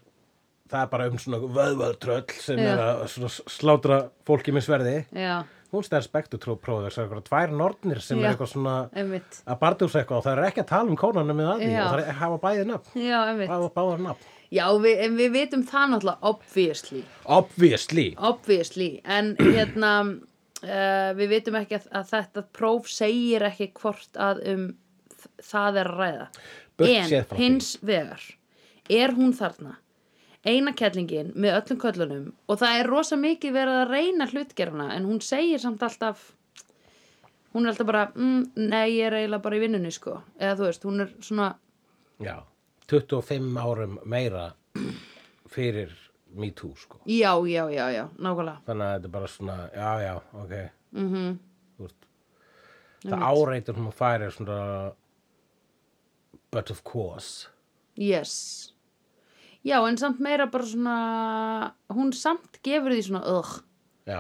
Speaker 2: það er bara um svona vöðvartröll sem
Speaker 1: Já.
Speaker 2: er að svona slátra fólki með sverði
Speaker 1: já,
Speaker 2: hún stærst spektutrúpróður sem eitthvað tvær nornir sem
Speaker 1: Já.
Speaker 2: er eitthvað svona
Speaker 1: einmitt
Speaker 2: að bardúsa eitthvað og það er ekki að tala um konanum með aðví
Speaker 1: Já.
Speaker 2: og það er, hafa bæðið nafn
Speaker 1: Já, einmitt
Speaker 2: hafa báðar nafn
Speaker 1: Já, við, en við vitum það náttúrulega obviously
Speaker 2: obviously
Speaker 1: obviously,
Speaker 2: [clears throat]
Speaker 1: en hérna uh, við vitum ekki að, að þetta próf segir ekki hvort að um þ- það er að ræða
Speaker 2: Burt séð frá
Speaker 1: en
Speaker 2: því.
Speaker 1: hins vegar er hún þarna eina kettlingin með öllum köllunum og það er rosa mikið verið að reyna hlutgerfna en hún segir samt alltaf hún er alltaf bara mm, nei, ég er eiginlega bara í vinnunni sko eða þú veist, hún er svona
Speaker 2: já, 25 árum meira fyrir me too sko
Speaker 1: já, já, já, já, nákvæmlega
Speaker 2: þannig að þetta er bara svona, já já, ok
Speaker 1: mm
Speaker 2: Þú veist, það áreitur hún að færi svona but of course
Speaker 1: Yes. Já, en samt meira bara svona, hún samt gefur því svona, ugh,
Speaker 2: já,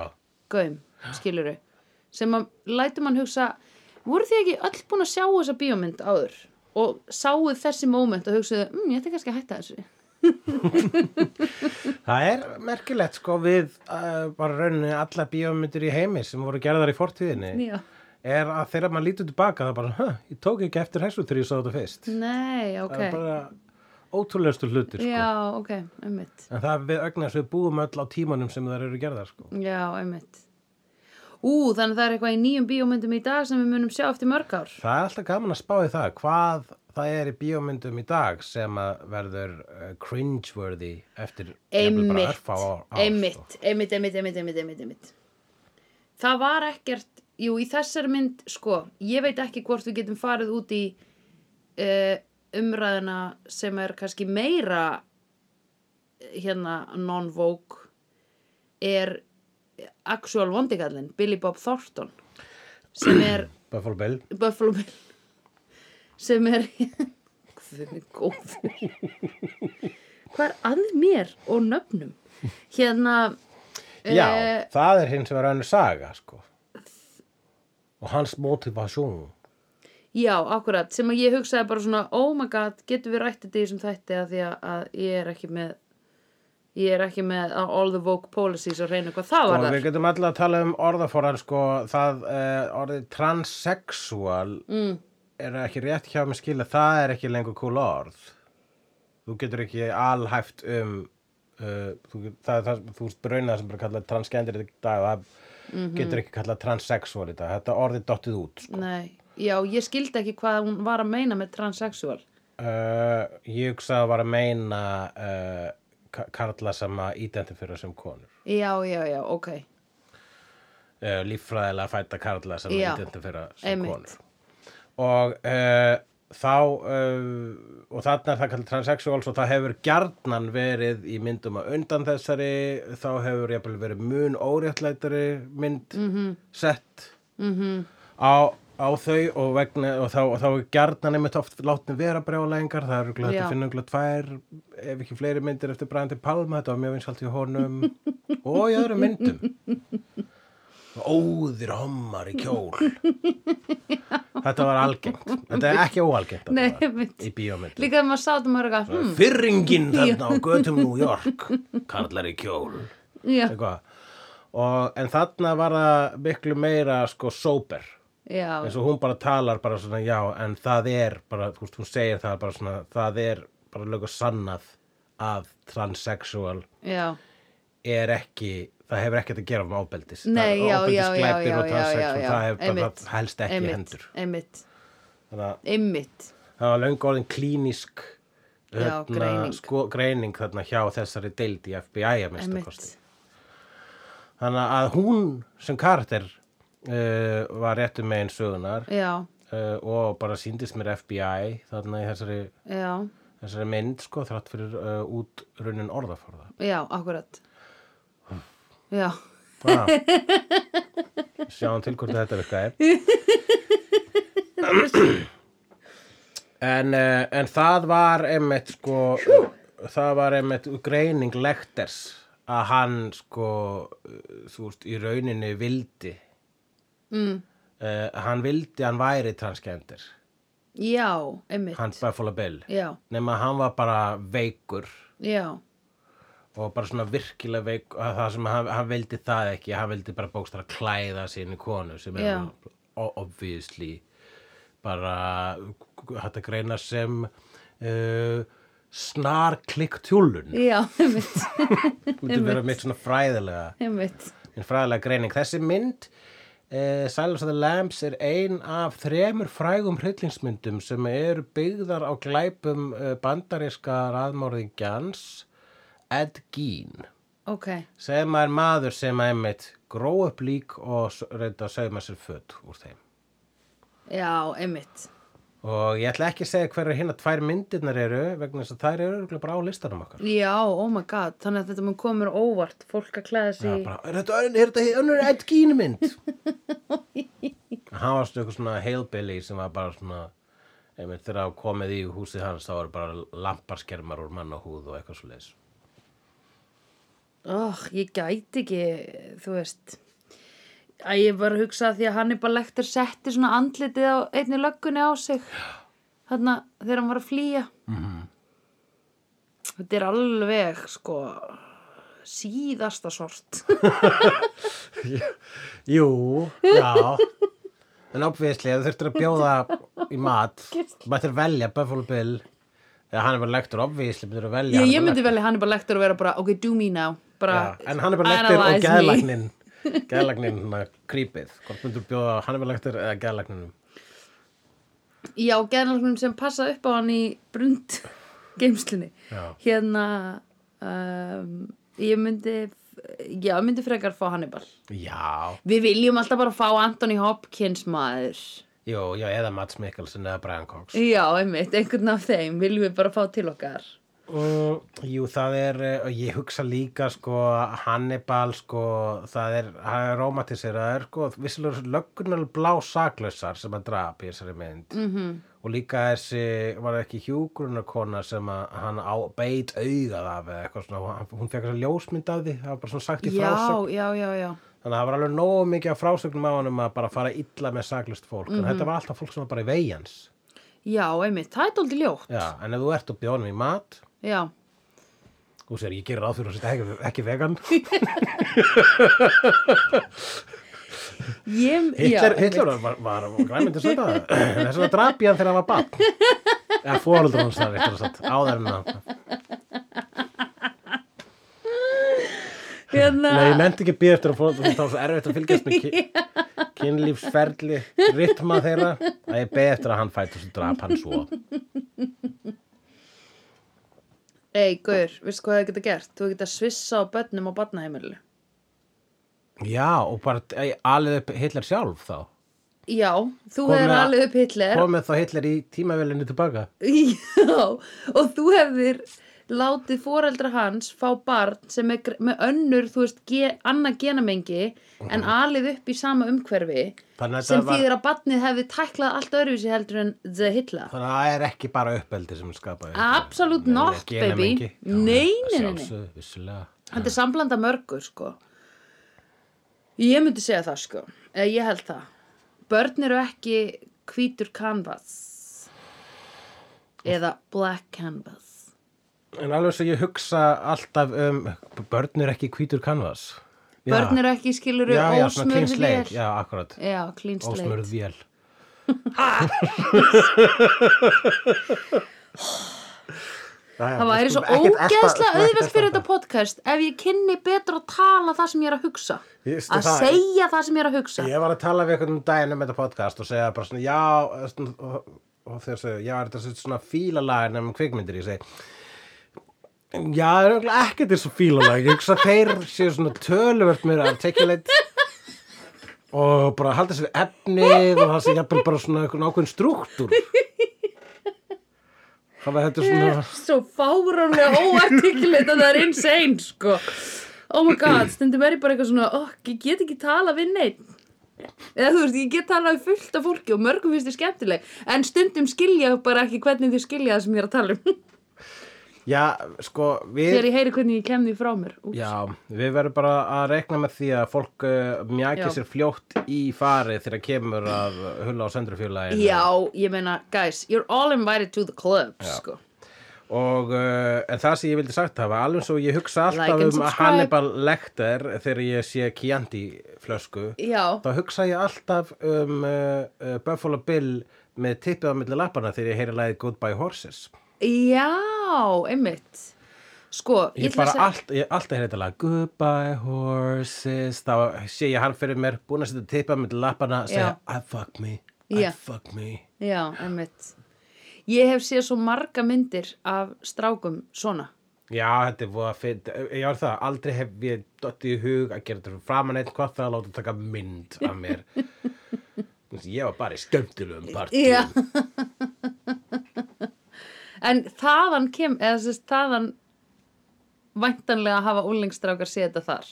Speaker 1: gaum, skiluru. Sem að lætur mann hugsa, voru þið ekki öll búin að sjá þessa bíómynd áður? Og sáuð þessi moment og hugsaðu, mm, ég ætti kannski að hætta þessu.
Speaker 2: það er merkilegt sko við uh, bara rauninni allar bíómyndir í heimi sem voru gerðar í fortíðinni
Speaker 1: Já.
Speaker 2: er að þegar maður lítur tilbaka það bara, hæ, ég tók ekki eftir þessu þegar ég sá þetta fyrst.
Speaker 1: Nei, Mm, ok.
Speaker 2: Það er bara ótrúlegastu hlutir, sko.
Speaker 1: Já, ok, einmitt.
Speaker 2: En það er við ögnar sem við búum öll á tímanum sem þær eru gerðar, sko.
Speaker 1: Já, einmitt. Ú, þannig að það er eitthvað í nýjum bíómyndum í dag sem við munum sjá eftir mörg ár.
Speaker 2: Það er alltaf gaman að spá í það, hvað það er í bíómyndum í dag sem að verður uh, cringeworthy eftir jafnvel bara
Speaker 1: einmitt,
Speaker 2: örfá ár. ár, Sko.
Speaker 1: einmitt, einmitt, einmitt, einmitt, einmitt, einmitt, einmitt. Það var ekkert, jú, í þessari mynd, sko, ég veit ekki hvort við getum farið út í uh, umræðina sem er kannski meira, eh, hérna, non-vogue, er actual vondikallin, Billy Bob Thornton, sem er
Speaker 2: Buffalo Bill.
Speaker 1: Buffalo Bill sem er Guð minn góður Hvað er að mér og nöfnum? Hérna
Speaker 2: Já,
Speaker 1: eh,
Speaker 2: það er hins vegar önnur saga, sko. Og hans motivasjón.
Speaker 1: já, akkurat, sem að ég hugsaði bara svona oh my god, getum við rætt þetta í þessum þætti að því að, að ég er ekki með ég er ekki með all the vogue policies og reyna hvað það var
Speaker 2: Og við getum alltaf að tala um orðaforan sko, það uh, orðið transsexual mm. er ekki rétt hjá mig skilja, það er ekki lengur cool orð. Þú getur ekki alhæft um uh, þú, get- það, það, þú ert braunin það sem bara kallað transgender í dag og það getur ekki kallað transsexual í dag. Þetta orðið dottið út. Sko.
Speaker 1: Nei, já, ég skildi ekki hvað hún var að meina með transsexual
Speaker 2: Uh, ég hugsa að var að meina uh, ka- karla sem að identifera sem konur.
Speaker 1: Já, já, já, ok
Speaker 2: uh, líffræðilega fætta karla sem
Speaker 1: Já,
Speaker 2: identifera sem
Speaker 1: einmitt.
Speaker 2: konur og uh, þá uh, og þarna er það kallt transsexuals og það hefur gjarnan verið í myndum að undan þessari þá hefur jafnvel verið mun óréttlætari mynd
Speaker 1: Mhm.
Speaker 2: sett -hmm. á, á þau og, vegna, og, þá, og þá er gjarnan einmitt oft látni vera brjálæðingar það eru glætt
Speaker 1: Já.
Speaker 2: að finna glætt tvær ef ekki fleiri myndir eftir Brandi Palma þetta var mjög vinsalt í honum [laughs] og í öðrum myndum óðir hommar í kjól [laughs] þetta var algengt þetta er ekki óalgengt að
Speaker 1: Nei,
Speaker 2: þetta var
Speaker 1: einmitt.
Speaker 2: í bíómyndum
Speaker 1: Líka þegar maður sátt um að vera eitthvað, hm,
Speaker 2: fyrringin þarna á götum
Speaker 1: [laughs]
Speaker 2: New York kallar í kjól
Speaker 1: já,
Speaker 2: eitthvað og, en þarna var það miklu meira sko sober eins
Speaker 1: já,
Speaker 2: og hún bara talar bara svona já en það er bara, þú veist, hún segir það bara svona það er bara lögur sannað að transsexual
Speaker 1: já,
Speaker 2: er ekki það hefur ekkert að gera um ábeldis
Speaker 1: nei, já, já, já, já,
Speaker 2: ábeldisglæpir
Speaker 1: já,
Speaker 2: og
Speaker 1: já, já,
Speaker 2: transsexual,
Speaker 1: já,
Speaker 2: það hefur bara
Speaker 1: einmitt,
Speaker 2: það helst ekki
Speaker 1: einmitt,
Speaker 2: hendur
Speaker 1: Einmitt,
Speaker 2: þannig að
Speaker 1: einmitt,
Speaker 2: það var löngu orðin klínisk
Speaker 1: Já, greining.
Speaker 2: Sko, greining þarna hjá þessari deild í FBI að minnsta
Speaker 1: einmitt,
Speaker 2: kosti þannig að hún sem karakter uh, var réttum megin sögunar
Speaker 1: já,
Speaker 2: uh, og bara síndist mér FBI þarna í þessari,
Speaker 1: já,
Speaker 2: þessari mynd sko þrátt fyrir uh, útrunin orðaforða
Speaker 1: já, akkurat, já,
Speaker 2: ah. sjáum til hvort þetta virkaði [clears throat] en, uh, en það var einmitt sko það var einmitt greining lekters að hann sko uh, þú veist í rauninni vildi
Speaker 1: mm,
Speaker 2: uh, hann vildi að hann væri transgender
Speaker 1: já, einmitt,
Speaker 2: hann Buffalo Bill
Speaker 1: já,
Speaker 2: nema hann var bara veikur
Speaker 1: já,
Speaker 2: og bara svona virkilega veik að það sem hann, hann vildi það ekki hann vildi bara bókstara klæða sinni konu sem er
Speaker 1: Já.
Speaker 2: o- obviously bara hætt að greina sem uh, snarklikk tjúlun
Speaker 1: já, einmitt, [laughs]
Speaker 2: myndi vera mitt svona fræðilega
Speaker 1: einmitt,
Speaker 2: minn fræðilega greining. Þessi mynd uh, Silence of the Lambs er ein af þremur frægum hryllingsmyndum sem eru byggðar á glæpum uh, bandaríska raðmórðingjans Ed Gein
Speaker 1: ok,
Speaker 2: sem er maður sem að einmitt gró upp lík og s- reynda að sauma sér föt úr þeim.
Speaker 1: já, einmitt,
Speaker 2: Og ég ætla ekki að segja hverju hérna tvær myndirnar eru vegna þess að þær eru örugglega bara á listanum okkar.
Speaker 1: já, oh my god, þannig að þetta mun komur óvart, fólk að klæða
Speaker 2: Já,
Speaker 1: sig, í-
Speaker 2: bara, er þetta, ön- er þetta önnur Ed Gein mynd? hann var stöku svona hailbilly sem var bara svona einmitt þegar það komið í húsið hans þá eru bara lamparskermar úr mann og húð og eitthvað svo leis.
Speaker 1: Oh, ég gæti ekki, þú veist. Æ, ég var að hugsa að því að Hannibal Lecter setti svona andlitið á einni löggunni á sig. Þarna þegar hann var að flýja. Mm -hmm. Þetta er alveg, sko, síðasta sort.
Speaker 2: Jú, já. [laughs] En obviðsli, ef þú þurftir að bjóða í mat, mættir velja Buffalo Bill, eða hann er bara lektur, obviðsli, myndir að velja
Speaker 1: ég,
Speaker 2: Hannibal
Speaker 1: ég myndi
Speaker 2: Lecter.
Speaker 1: velja Hannibal Lecter og vera bara, ok, do me now. Bara,
Speaker 2: Já, En hann er bara lektur og
Speaker 1: analyze me.
Speaker 2: geðlagnin, geðlagnin svona creepið. Hvort myndir bjóða hann er bara lektur eða geðlagninum?
Speaker 1: Já, geðlæknum sem passa upp á hann í brund geimslinni.
Speaker 2: Já.
Speaker 1: Hérna, um, ég myndi, já, myndi frekar fá Hannibal.
Speaker 2: Já,
Speaker 1: Við viljum alltaf bara fá Anthony Hopkins maður.
Speaker 2: jú, já, eða Mats Mikkelsen eða Brian Cox.
Speaker 1: Já, einmitt, einhvern af þeim viljum við bara fá til okkar.
Speaker 2: Mm, jú, það er, eh, og ég hugsa líka, sko, Hannibal, sko, það er, hann er romantiseraður, sko, vissilegur löggunar blá saklausar sem að drap í þessari mynd. Mm -hmm. Og líka þessi, var það ekki hjúgrunarkona sem að hann á, beit augað af eða eitthvað svona, og hann- hún fekk þess að ljósmynd af því, það var bara svona sagt í frásögn.
Speaker 1: Já, já, já, já.
Speaker 2: Þannig að það var alveg nógu mikið af frásögnum af hann um að bara fara illa með saklaust fólk. En þetta var alltaf fólk sem var bara í vegins.
Speaker 1: Já, einmitt, það er dóldi ljótt.
Speaker 2: Já, en ef þú ert að bjóða honum í mat,
Speaker 1: Já,
Speaker 2: Þú sér, ég gerir ráð fyrir að setja ekki, ekki vegan.
Speaker 1: ég, já,
Speaker 2: Hitler,
Speaker 1: einmitt.
Speaker 2: Hitler var, var, var græmyndi að [clears throat] setja það. Þess vegna drap ég hann þegar hann var barn. Eða fóröldur hans þar, eitthvað satt, áður en að...
Speaker 1: Hérna,
Speaker 2: Nei, ég nefndi ekki býð eftir að fóröldur hans, það var svo erfitt að fylgjast með
Speaker 1: [laughs]
Speaker 2: ki, kynlífsferli, ritma þeirra, að ég beði eftir að hann fætt og svo drap hann svo.
Speaker 1: ei, Gaur, veistu hvað það geta gert? Þú geta svissa á börnum á barnaheimilu.
Speaker 2: Já, og bara ei, alið upp Hitler sjálf þá.
Speaker 1: já, þú
Speaker 2: Komið
Speaker 1: hefur
Speaker 2: að-
Speaker 1: alveg upp Hitler
Speaker 2: komið þá Hitler í tímavélinu tilbaka
Speaker 1: Já, og þú hefðir látið foreldra hans fá barn sem er gr- með önnur, þú veist, ge, annað genamengi en alið upp í sama umhverfi
Speaker 2: Þannig að Mhm.
Speaker 1: sem
Speaker 2: þetta var-
Speaker 1: þýðir að barnið hefði tæklað allt öðruvísi heldur en The Hitler.
Speaker 2: þannig að það er ekki bara uppeldi sem skapaði
Speaker 1: Absolute
Speaker 2: Nei,
Speaker 1: not,
Speaker 2: genamengi.
Speaker 1: baby.
Speaker 2: Já,
Speaker 1: Nei,
Speaker 2: að
Speaker 1: nei, nei, nei.
Speaker 2: sjálfsögðu, vissulega.
Speaker 1: Þetta er samblanda mörgu, sko. Ég myndi segja það, sko. Eða ég held það. Börn eru ekki hvítur canvas eða black canvas.
Speaker 2: en alveg svo ég hugsa alltaf um börn er ekki hvítur kanvas
Speaker 1: Börn eru ekki skilur
Speaker 2: já, já, svona clean
Speaker 1: ósmörð
Speaker 2: slate,
Speaker 1: vél.
Speaker 2: já, akkurat
Speaker 1: Já, clean slate.
Speaker 2: ósmörð vél [laughs] Jæja,
Speaker 1: Það
Speaker 2: við
Speaker 1: væri svo
Speaker 2: skulum ekkert elta-
Speaker 1: ógeðslega
Speaker 2: skulum ekkert
Speaker 1: auðvelt fyrir
Speaker 2: elta
Speaker 1: þetta podcast ef ég kynni betur að tala það sem ég er að hugsa.
Speaker 2: Ég veist
Speaker 1: Að
Speaker 2: það-
Speaker 1: segja það sem ég er að hugsa.
Speaker 2: Ég var að tala við einhvern um daginn um þetta podcast og segja bara svona, já, svona, og, og þegar segja, já, er þetta sem svona fílalag nefnum kvikmyndir, ég segi, já, það er örugglega ekkert þessu fílalag, ég hugsa að þeir séu svona töluvert meira articulate og bara halda sér við efnið og það sé jafnvel bara svona einhvern ákveðin strúktúr. Þannig að þetta er svona,
Speaker 1: svo fáránlega óartikulit að það er insane sko oh my god, stundum er ég bara eitthvað svona oh, ég get ekki tala við neitt eða þú veist, ég get talað við fullt af fólki og mörgum finnst þið skemmtileg en stundum skilja ég bara ekki hvernig þið skilja það sem ég er að tala um
Speaker 2: já, sko, við...
Speaker 1: þegar ég heyri hvernig ég kem því frá mér Ú,
Speaker 2: Já, við verðum bara að rekna með því að fólk uh, mjaki
Speaker 1: Já.
Speaker 2: sér fljótt í farið þegar kemur að hulla á sendurfjörlægin
Speaker 1: já, ég meina, guys you're all invited to the club sko.
Speaker 2: og uh, en það sem ég vildi sagt hafa alveg svo ég hugsa
Speaker 1: Like
Speaker 2: alltaf
Speaker 1: and
Speaker 2: um
Speaker 1: subscribe.
Speaker 2: Hannibal Lecter þegar ég sé Chianti flösku
Speaker 1: já,
Speaker 2: þá hugsa ég alltaf um uh, uh, Buffalo Bill með tippið á milli lappana þegar ég heyri lagið Goodbye Horses
Speaker 1: já, einmitt sko,
Speaker 2: Ég
Speaker 1: ætla
Speaker 2: bara
Speaker 1: að segja-
Speaker 2: allt, ég alltaf heyrði þetta lag Goodbye horses Þá sé ég hann fyrir mér búin að setja tippa með lappana segja I fuck me, I
Speaker 1: Já.
Speaker 2: fuck me
Speaker 1: Já, einmitt. Ég hef séð svo marga myndir af strákum svona.
Speaker 2: Já, þetta er búið að fyrir Ég var það, aldrei hef ég dottið í hug að gera þetta fyrir framan einn hvað það að láta taka mynd af mér [laughs] Ég var bara í skemmtilegum partíum
Speaker 1: Já. [laughs] en þaðan kem, eða þess að þaðan væntanlega hafa úlengstrákar séð þetta þar.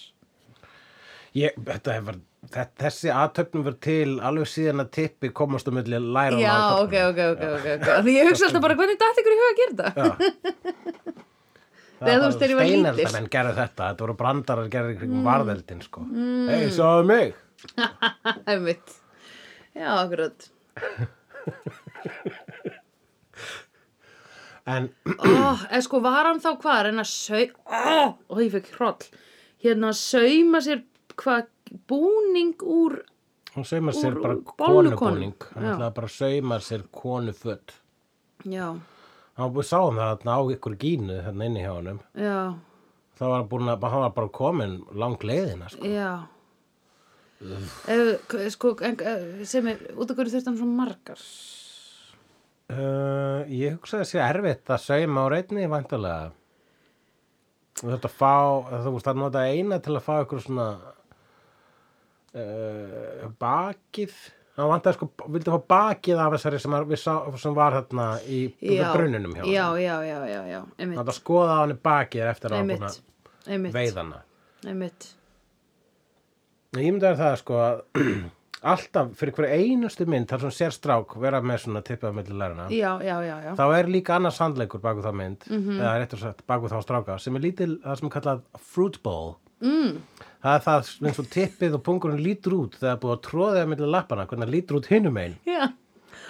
Speaker 2: Ég, þetta hefur, þetta, þessi aðtöfnum verið til alveg síðan að tippi komast um milli læra
Speaker 1: Já, ok, ok, ok, ok, ok. Því ég hugsa alltaf bara hvernig dætt ykkur í huga að gera þetta. Þegar þú veist, þegar ég var lítill.
Speaker 2: Steineldarmenn gerðu þetta, þetta voru brandarar gerðu kring mm. varðeldin sko. Mm. Hei, sjáðu mig.
Speaker 1: [laughs] Einmitt. Já, akkurat.
Speaker 2: En [clears throat]
Speaker 1: Oh, eða sko, var hann þá hvað? að Reyna að sauma... Oh, og ég fekk hroll. Hérna að sauma sér hvað búning úr...
Speaker 2: hún saumar sér
Speaker 1: Úr-
Speaker 2: bara
Speaker 1: úr bollukonu.
Speaker 2: konubúning. Hann
Speaker 1: Já.
Speaker 2: ætlaði bara að sauma sér konuföld.
Speaker 1: Já,
Speaker 2: Hann búið sáum það þarna á ykkur gínu þarna inni hjá honum.
Speaker 1: já,
Speaker 2: Það var búin að, hann var bara komin lang leiðina sko.
Speaker 1: Já Ef, k- sko, en, eh, sem er, út af hverju þurfti hann svo margar
Speaker 2: Uh, ég hugsaði að sé erfitt að sauma á reyndni vantulega. Þú þurft að fá, þú veist að nota eina til að fá ykkur svona uh, bakið. Hann vantaði sko, vildi fá bakið af þessari sem, var- við sá, sem var þarna í
Speaker 1: já,
Speaker 2: brunninum hjá.
Speaker 1: Já, já, já, já, já,
Speaker 2: Hann
Speaker 1: einmitt
Speaker 2: vantaði að skoða á henni bakið eftir að hann búin
Speaker 1: einmitt,
Speaker 2: að
Speaker 1: einmitt,
Speaker 2: veiða hana.
Speaker 1: einmitt
Speaker 2: Nei, Ég myndi að það sko að [clears throat] alltaf fyrir hverju einustu mynd þar sem sér strák vera með svona tippað mellir lærana.
Speaker 1: Já, já, já, já
Speaker 2: þá er líka annars sandleikur baku þá mynd eða réttur sagt baku þá stráka sem er lítil, það sem er kallað fruit bowl mm. það er það eins og tippið og pungurinn lítur út þegar búið að tróða þegar millir lappana hvernig það lítur út hinum einn
Speaker 1: Já,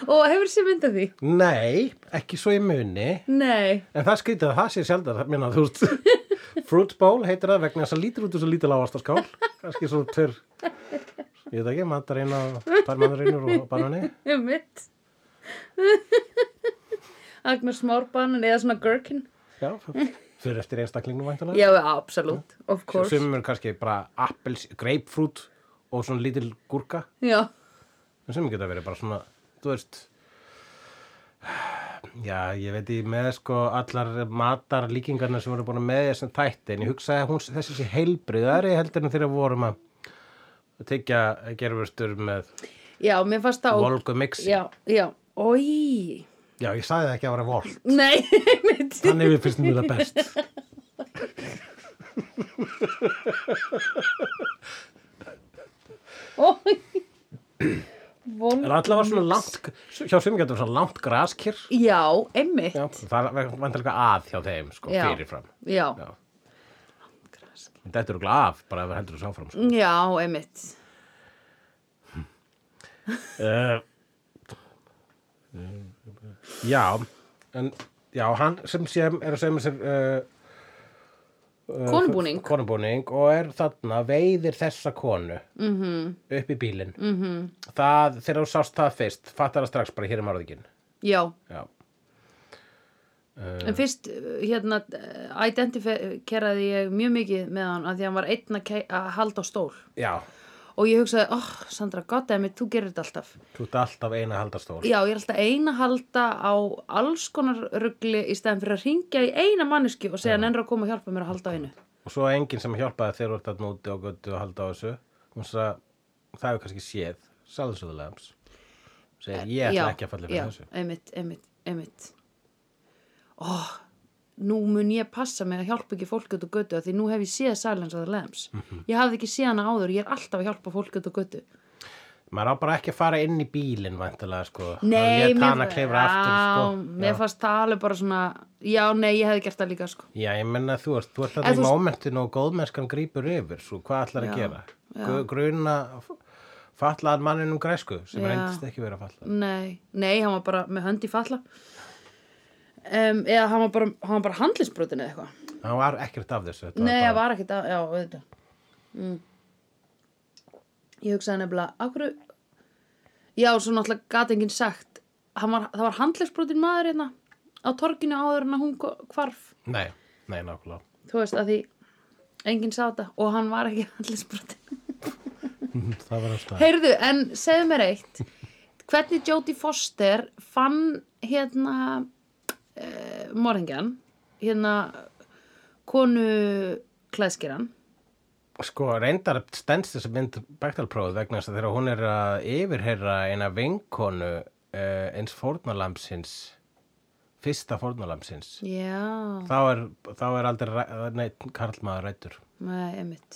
Speaker 1: og hefur sér mynd af því?
Speaker 2: nei, ekki svo í muni
Speaker 1: Nei,
Speaker 2: en það skrítið að það sé sjaldan það minna þú veist fruit bowl heitir það vegna þess að lítur út þess að lítil ávastaskál kannski svo tör ég veit ekki, matarinn og parmanurinnur og banani
Speaker 1: einmitt [laughs] Agnar smárbanan eða svona gherkin
Speaker 2: já, fyrir eftir einstaklingnum væntanlega
Speaker 1: Já, absolutt, of course
Speaker 2: Sumum eru kannski bara appels, grapefruit og svona lítil gúrka
Speaker 1: Já,
Speaker 2: en sumum geta verið bara svona, þú veist Já, ég veit í með sko allar matar líkingarna sem voru búin með þessum tætti en ég hugsaði að hún, þessi sé heilbriðari heldur en þegar vorum að tekja gerfustur með
Speaker 1: já, mér fannst það
Speaker 2: Volgu mixi.
Speaker 1: Já, já, oi
Speaker 2: Já, ég sagði það ekki að vera vol.
Speaker 1: Nei, [laughs] mitt
Speaker 2: Þannig við finnst mér það
Speaker 1: [laughs]
Speaker 2: best.
Speaker 1: Oi
Speaker 2: En
Speaker 1: Vol
Speaker 2: allavega svona langt, hjá sem getur svona langt graskir.
Speaker 1: Já, einmitt
Speaker 2: Já, það er vantilega að hjá þeim, sko,
Speaker 1: Já.
Speaker 2: fyrirfram.
Speaker 1: Já,
Speaker 2: Já. Þetta er glæð af, bara ef við hendur þessu áfram, sko.
Speaker 1: já, einmitt
Speaker 2: Uh, já, en já, hann sem sé er að segja með sér uh, uh,
Speaker 1: Konubúning.
Speaker 2: konubúning og er þarna, veiðir þessa konu mm -hmm. upp í bílinn mm -hmm. það, þegar þú sást það fyrst fattar það strax bara hér er marðikinn
Speaker 1: Já,
Speaker 2: já,
Speaker 1: en fyrst uh, hérna uh, identiferaði ég mjög mikið með hann að því hann var einn að, kei- að halda á stól
Speaker 2: já,
Speaker 1: og ég hugsaði, oh, Sandra, goddammit, þú gerir þetta alltaf
Speaker 2: þú ert alltaf eina haldastól
Speaker 1: Já, ég er alltaf ein að halda á alls konar ruggli í stæðan fyrir að ringja í eina manneski og segja nennra að koma og hjálpa mér að halda á einu.
Speaker 2: og svo enginn sem hjálpaði þegar þú ert þarna úti og göttu að halda á þessu hún sagði, það hefur kannski séð salðsöðulegams segir, ég ætla ekki að falla fyrir
Speaker 1: Eh, já,
Speaker 2: þessu
Speaker 1: Einmitt, einmitt, einmitt. Ó, nú mun ég passa mig að hjálpa ekki fólk út á götu af því nú hef ég séð Silence of the Lambs.
Speaker 2: Mhm.
Speaker 1: Ég hafði ekki séð hana áður, ég er alltaf að hjálpa fólk út á götu.
Speaker 2: maður á bara ekki að fara inn í bílinn vantilega sko
Speaker 1: Nei,
Speaker 2: mér hana klifra aftur sko
Speaker 1: mér fannst það alveg bara svona, já, nei, ég hefði gert það líka, sko.
Speaker 2: já ég menna þú veist, þú ert
Speaker 1: En
Speaker 2: að
Speaker 1: þú-
Speaker 2: því mómentin og góðmennskan grípur yfir svo hvað ætlar að gera Gu- gruna fallaðan manninum um græsku sem
Speaker 1: Já.
Speaker 2: reyndist ekki vera fallað
Speaker 1: Nei, nei, hann var bara með hönd í falla um, eða hann var bara, hann var bara handlisbrotin eða eitthvað
Speaker 2: hann var ekkert af þessu þetta var
Speaker 1: Nei,
Speaker 2: bara,
Speaker 1: það var ekkert að, já, auðvitað mm. Ég hugsaði nefnilega, akkur Já, svo náttúrulega gat enginn sagt Hann var, Það var handlisbrotin maður hérna á torginu áður en að hún ko- hvarf
Speaker 2: nei, nei, nákvæmlega [laughs]
Speaker 1: þú veist, að því enginn sá þetta og hann var ekki [laughs] handlisbrotin
Speaker 2: það var ástæðan
Speaker 1: Heyrðu, en segðu mér eitt Hvernig Jodie Foster fann hérna uh, morðingjan hérna konu klæðskiran
Speaker 2: sko reyndar stendst þessi mynd Bechtelpróð vegna þess að þegar hún er að yfirherra eina vinkonu uh, eins fórnalampsins fyrsta fórnalampsins
Speaker 1: Já,
Speaker 2: þá er, þá er aldrei ræ- nei, karlmaður rættur
Speaker 1: með emitt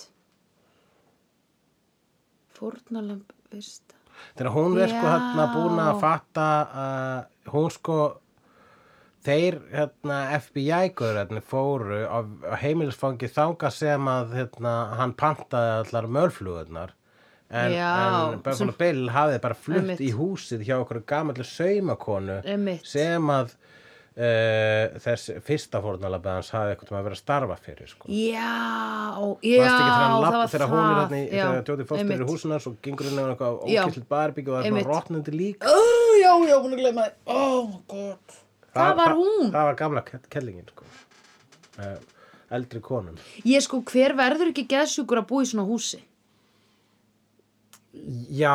Speaker 1: Fórnalamb fyrsta
Speaker 2: þegar hún er sko
Speaker 1: Já.
Speaker 2: hérna búin að fatta að hún sko þeir hérna FBI-gur hérna, fóru á, á heimilisfangi þanga sem að hérna, hann pantaði allar mölflugurnar en,
Speaker 1: Já,
Speaker 2: en Buffalo
Speaker 1: sem-
Speaker 2: Bill hafði bara flutt
Speaker 1: Einmitt.
Speaker 2: í húsið hjá okkur gamallu saumakonu
Speaker 1: Einmitt.
Speaker 2: sem að uh, þess fyrsta fórnalabbi hans hafði eitthvað að vera að starfa fyrir sko.
Speaker 1: Já,
Speaker 2: Já,
Speaker 1: já
Speaker 2: þegar,
Speaker 1: það var
Speaker 2: lapp, þegar hún er hann í,
Speaker 1: já,
Speaker 2: þegar Jóti Foster er í
Speaker 1: einmitt.
Speaker 2: húsuna svo gengur henni á eitthvað
Speaker 1: Já.
Speaker 2: ókyslitt barbík og það er
Speaker 1: Einmitt.
Speaker 2: svona rotnandi lík
Speaker 1: Ó, Já, já, hún er glemma Oh my god Það var hún
Speaker 2: Það var gamla ke- kellingin sko. uh, Eldri konun
Speaker 1: Ég sko, hver verður ekki geðsjúkur að búa í svona húsi?
Speaker 2: Já,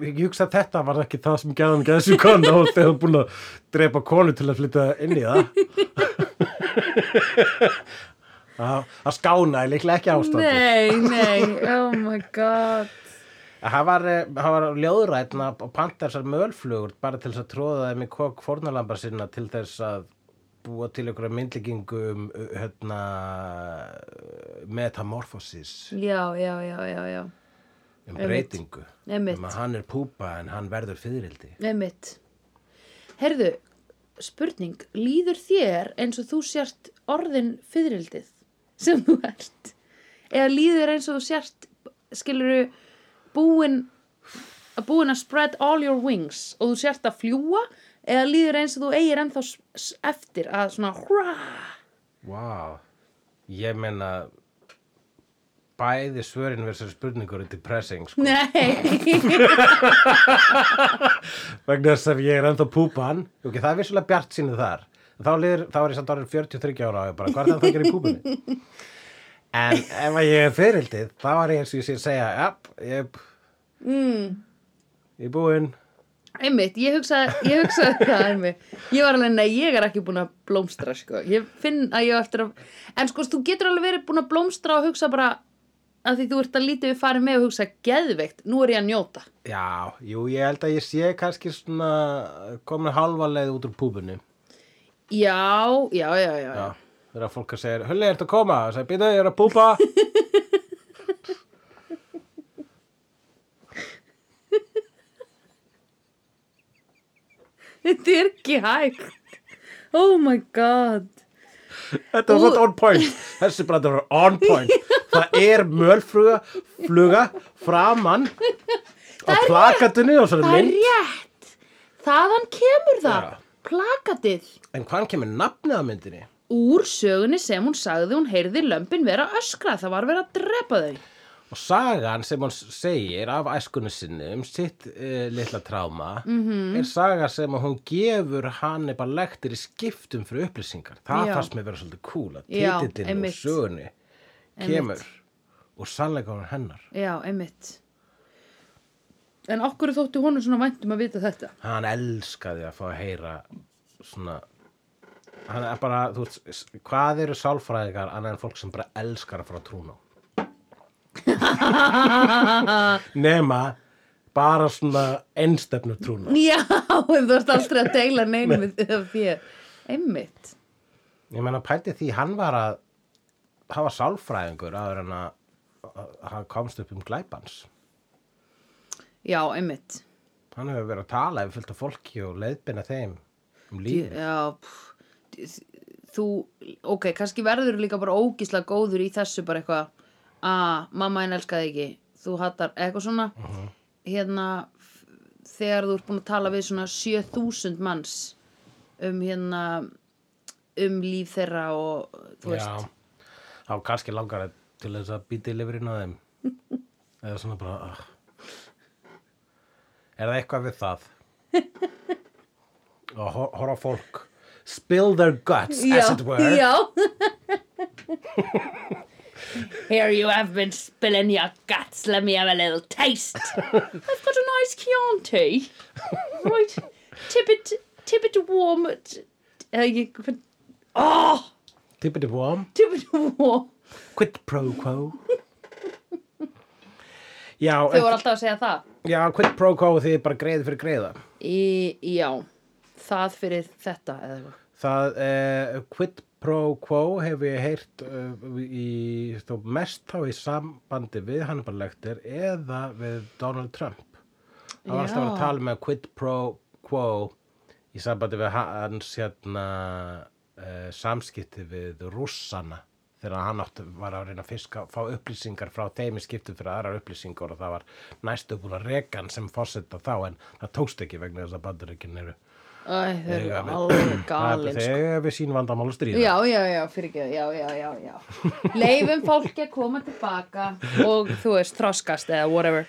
Speaker 2: ég hugsa að þetta var ekki það sem gerðan geðsjú konu og þegar hún búin að drepa konu til að flytta inn í
Speaker 1: [laughs]
Speaker 2: það Það það skánaði líklega ekki ástandi
Speaker 1: Nei, nei, oh my god
Speaker 2: Það var, eh, hann var ljóðrætn að panta þessar mölflugur bara til þess að tróða þeim í kokk fórnalambar sinna til þess að búa til ykkur myndlíkingu um uh, hérna, metamorfosis,
Speaker 1: Já, já, já, já, já
Speaker 2: um
Speaker 1: Einmitt.
Speaker 2: breytingu.
Speaker 1: Einmitt.
Speaker 2: Um að hann er púpa en hann verður fyririldi.
Speaker 1: Einmitt Herðu, spurning Líður þér eins og þú sért orðin fyririldið sem þú ert? Eða líður þér eins og þú sért skiluru búin að búin að spread all your wings og þú sért að fljúa eða líður þér eins og þú eigir ennþá s- s- eftir að svona hra
Speaker 2: Vá. Ég meina bæði svörin verður þessar spurningur er depressing sko.
Speaker 1: [laughs] Nei,
Speaker 2: vegna þess að ég er ennþá púpan ok, það er vissulega bjart sínu þar þá, liður, þá er ég samt árið 43 ára og ég bara, hvað er það að gera í púpunni? en ef að ég er fyririldið þá er ég eins og ég sé að segja jáp, ég, ég er búinn
Speaker 1: einmitt, ég hugsaði, ég hugsaði það einmitt. Ég var alveg, nei, ég er ekki búin að blómstra, sko. Ég finn að ég á eftir að, en sko, þú getur alveg verið búin að blómstra og hugsa bara, að því þú ert að lítið við farið með og hugsa geðveikt, nú er ég að njóta
Speaker 2: Já, jú, ég held að ég sé kannski svona komin halva leið út úr púbunni.
Speaker 1: já, já, já, já, já.
Speaker 2: Já, þegar fólk að segja, Hulli, ertu að koma? Það segir, býta, ég er að púpa.
Speaker 1: þetta er ekki hægt oh my god
Speaker 2: Þetta var
Speaker 1: Ú.
Speaker 2: svona on point. Þessi brandur var on point. Það er mölfluga, fluga, framann á plakatunni og svona
Speaker 1: það er
Speaker 2: mynd.
Speaker 1: rétt þaðan kemur það
Speaker 2: Já.
Speaker 1: plakatið
Speaker 2: En hvaðan kemur nafnið að myndinni?
Speaker 1: úr sögunni sem hún sagði hún heyrði lömpin vera að öskra það var verið að drepa þau
Speaker 2: Og sagan sem hún segir af æskunni sinni um sitt uh, litla tráma
Speaker 1: Mhm.
Speaker 2: er saga sem að hún gefur hann eitthvað lektir í skiptum fyrir upplýsingar. Það
Speaker 1: Já.
Speaker 2: fannst mér vera svolítið cool að
Speaker 1: Já,
Speaker 2: titillinn og
Speaker 1: einmitt.
Speaker 2: sögunni kemur og sannleikunum hennar.
Speaker 1: já, einmitt en okkur þóttu honum svona væntum að vita þetta
Speaker 2: Hann elskaði að fá að heyra svona hann er bara, þú veist, s- hvað eru sálfræðingar annað en fólk sem bara elskar að fara að trúna á? Nema bara svona einstefnu trúna
Speaker 1: já, [laughs] en þú ert aldrei að deila neinu með þér einmitt
Speaker 2: Ég meina pælti því hann var að hafa sálfræðingur áður en að að hann komst upp um glæpans.
Speaker 1: já, einmitt
Speaker 2: Hann hefur verið að tala yfir fullt af fólki og leiðbina þeim um lífið.
Speaker 1: já, pff, þú ok, kannski verður líka bara ógísla góður í þessu bara eitthvað að mamma henn elskaði ekki þú hattar eitthvað svona hérna f- þegar þú ert búin að tala við svona 7000 manns um hérna um líf þeirra og þú veist
Speaker 2: Já, þá kannski langar það til þess að býta í lifurinn á þeim. [laughs] Eða svona bara... ah. Er það eitthvað við
Speaker 1: [laughs]
Speaker 2: það? Og hor- horfa á fólk spill their guts as it were.
Speaker 1: já. [laughs] Here you have been spilling your guts. Let me have a little [laughs] taste. I've got a nice Chianti. Right. Tip it, tip it warm. t- Uh, you, oh,
Speaker 2: Tippity warm.
Speaker 1: tip it warm.
Speaker 2: Quid pro
Speaker 1: [laughs]
Speaker 2: quo. Já,
Speaker 1: Þau voru alltaf að segja það.
Speaker 2: Já, quid pro quo því bara greiði fyrir greiða.
Speaker 1: Í, já, það fyrir þetta eða eitthvað.
Speaker 2: Það, eh, quid pro quo hef ég heyrt eh, í, þó mest þá í sambandi við Hannibal Lecter eða við Donald Trump. Það var alltaf að
Speaker 1: Já.
Speaker 2: tala með quid pro quo í sambandi við hans hérna eh, samskipti við rússana þegar hann átt var að reyna að fiska, fá upplýsingar frá þeim í skiptu fyrir aðrar upplýsingar og það var næstu búin að reka hann sem fórsetta þá en það tókst ekki vegna þess að bandaríkinn eru
Speaker 1: Æ, þau eru
Speaker 2: Eiga við-
Speaker 1: [clears throat] alveg
Speaker 2: Það
Speaker 1: galin. sko.
Speaker 2: er Þegar við sín vandamál að stríða.
Speaker 1: Já, já, já, fyrir ekki, já, já, já, já. Leifum fólki að koma tilbaka og þú veist, þroskast eða whatever.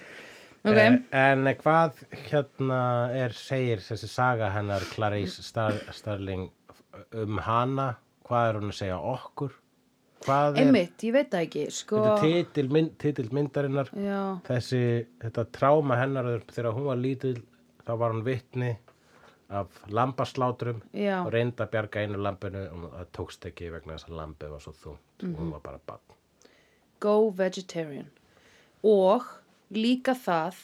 Speaker 1: Ok,
Speaker 2: Eh, En hvað hérna er segir þessi saga hennar Clarice Star Starling um hana? Hvað er hún að segja okkur? Hvað er
Speaker 1: einmitt, ég veit það ekki, sko.
Speaker 2: þetta titil, mynd, titil myndarinnar?
Speaker 1: Já,
Speaker 2: Þessi, þetta tráma hennar þegar hún var lítil, þá var hún vitni af lambaslátrum
Speaker 1: Já.
Speaker 2: og reyndi að bjarga einu lambinu og það tókst ekki vegna þess að lambið var svo þungt og
Speaker 1: Mhm.
Speaker 2: hún var bara bann.
Speaker 1: go vegetarian. Og líka það,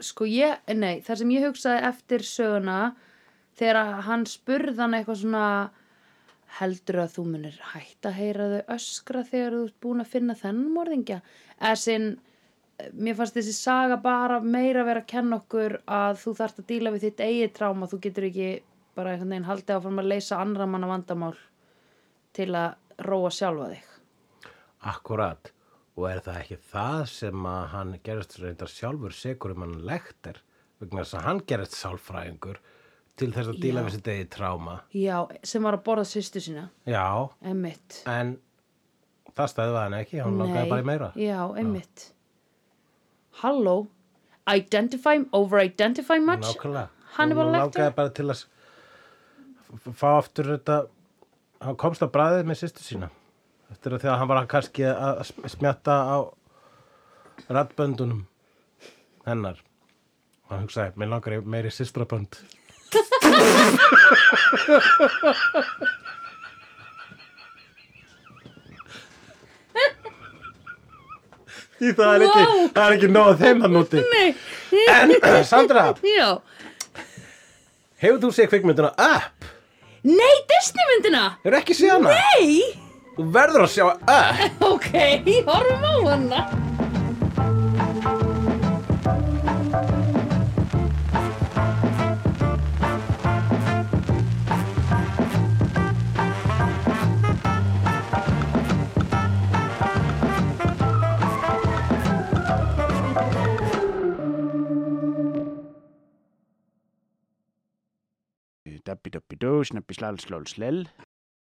Speaker 1: sko ég, nei, það sem ég hugsaði eftir söguna, þegar hann spurði hann eitthvað svona, heldur að þú munir hætt að heyra þau öskra þegar þú ert búin að finna þennan morðingja? Eða sinn, mér fannst þessi saga bara meira vera að kenna okkur að þú þarft að díla við þitt eigið tráma, þú getur ekki bara einhvern veginn haldið áfram að leysa annra manna vandamál til að róa sjálfa þig.
Speaker 2: Akkurat. Og er það ekki það sem að hann gerist reyndar sjálfur segur um hann lektir vegna þess að hann gerist sálfræðingur til þess að díla
Speaker 1: Já.
Speaker 2: við sitt eigi tráma.
Speaker 1: Já, sem var að borða sýstu sína,
Speaker 2: Já,
Speaker 1: emmitt.
Speaker 2: en það stæðið hann ekki, hann langaði bara í meira.
Speaker 1: Já, emmitt. Halló, identify, over-identify much?
Speaker 2: Nákvæmlega.
Speaker 1: Hannibal
Speaker 2: Hún
Speaker 1: Lecter?
Speaker 2: Langaði bara til að s- f- fá aftur þetta, hann komst að bræðið með sýstu sína. Eftir að því að hann var kannski að sm- smjatta á rattböndunum hennar. Og hann hugsaði, mér langar í meiri sýstrabönd. Í það er ekki,
Speaker 1: Vá.
Speaker 2: það er ekki nóg að þeim að núti.
Speaker 1: Nei,
Speaker 2: En, [clears throat] Sandra,
Speaker 1: já
Speaker 2: hefur þú séð kvikmyndina Up?
Speaker 1: Nei, Disney myndina
Speaker 2: Hefur ekki séð hana?
Speaker 1: Nei, [laughs]
Speaker 2: Þú verður að sjá Up.
Speaker 1: ok, horfum á hana
Speaker 3: Dabbi dabbi dó, snabbi slal slal slel.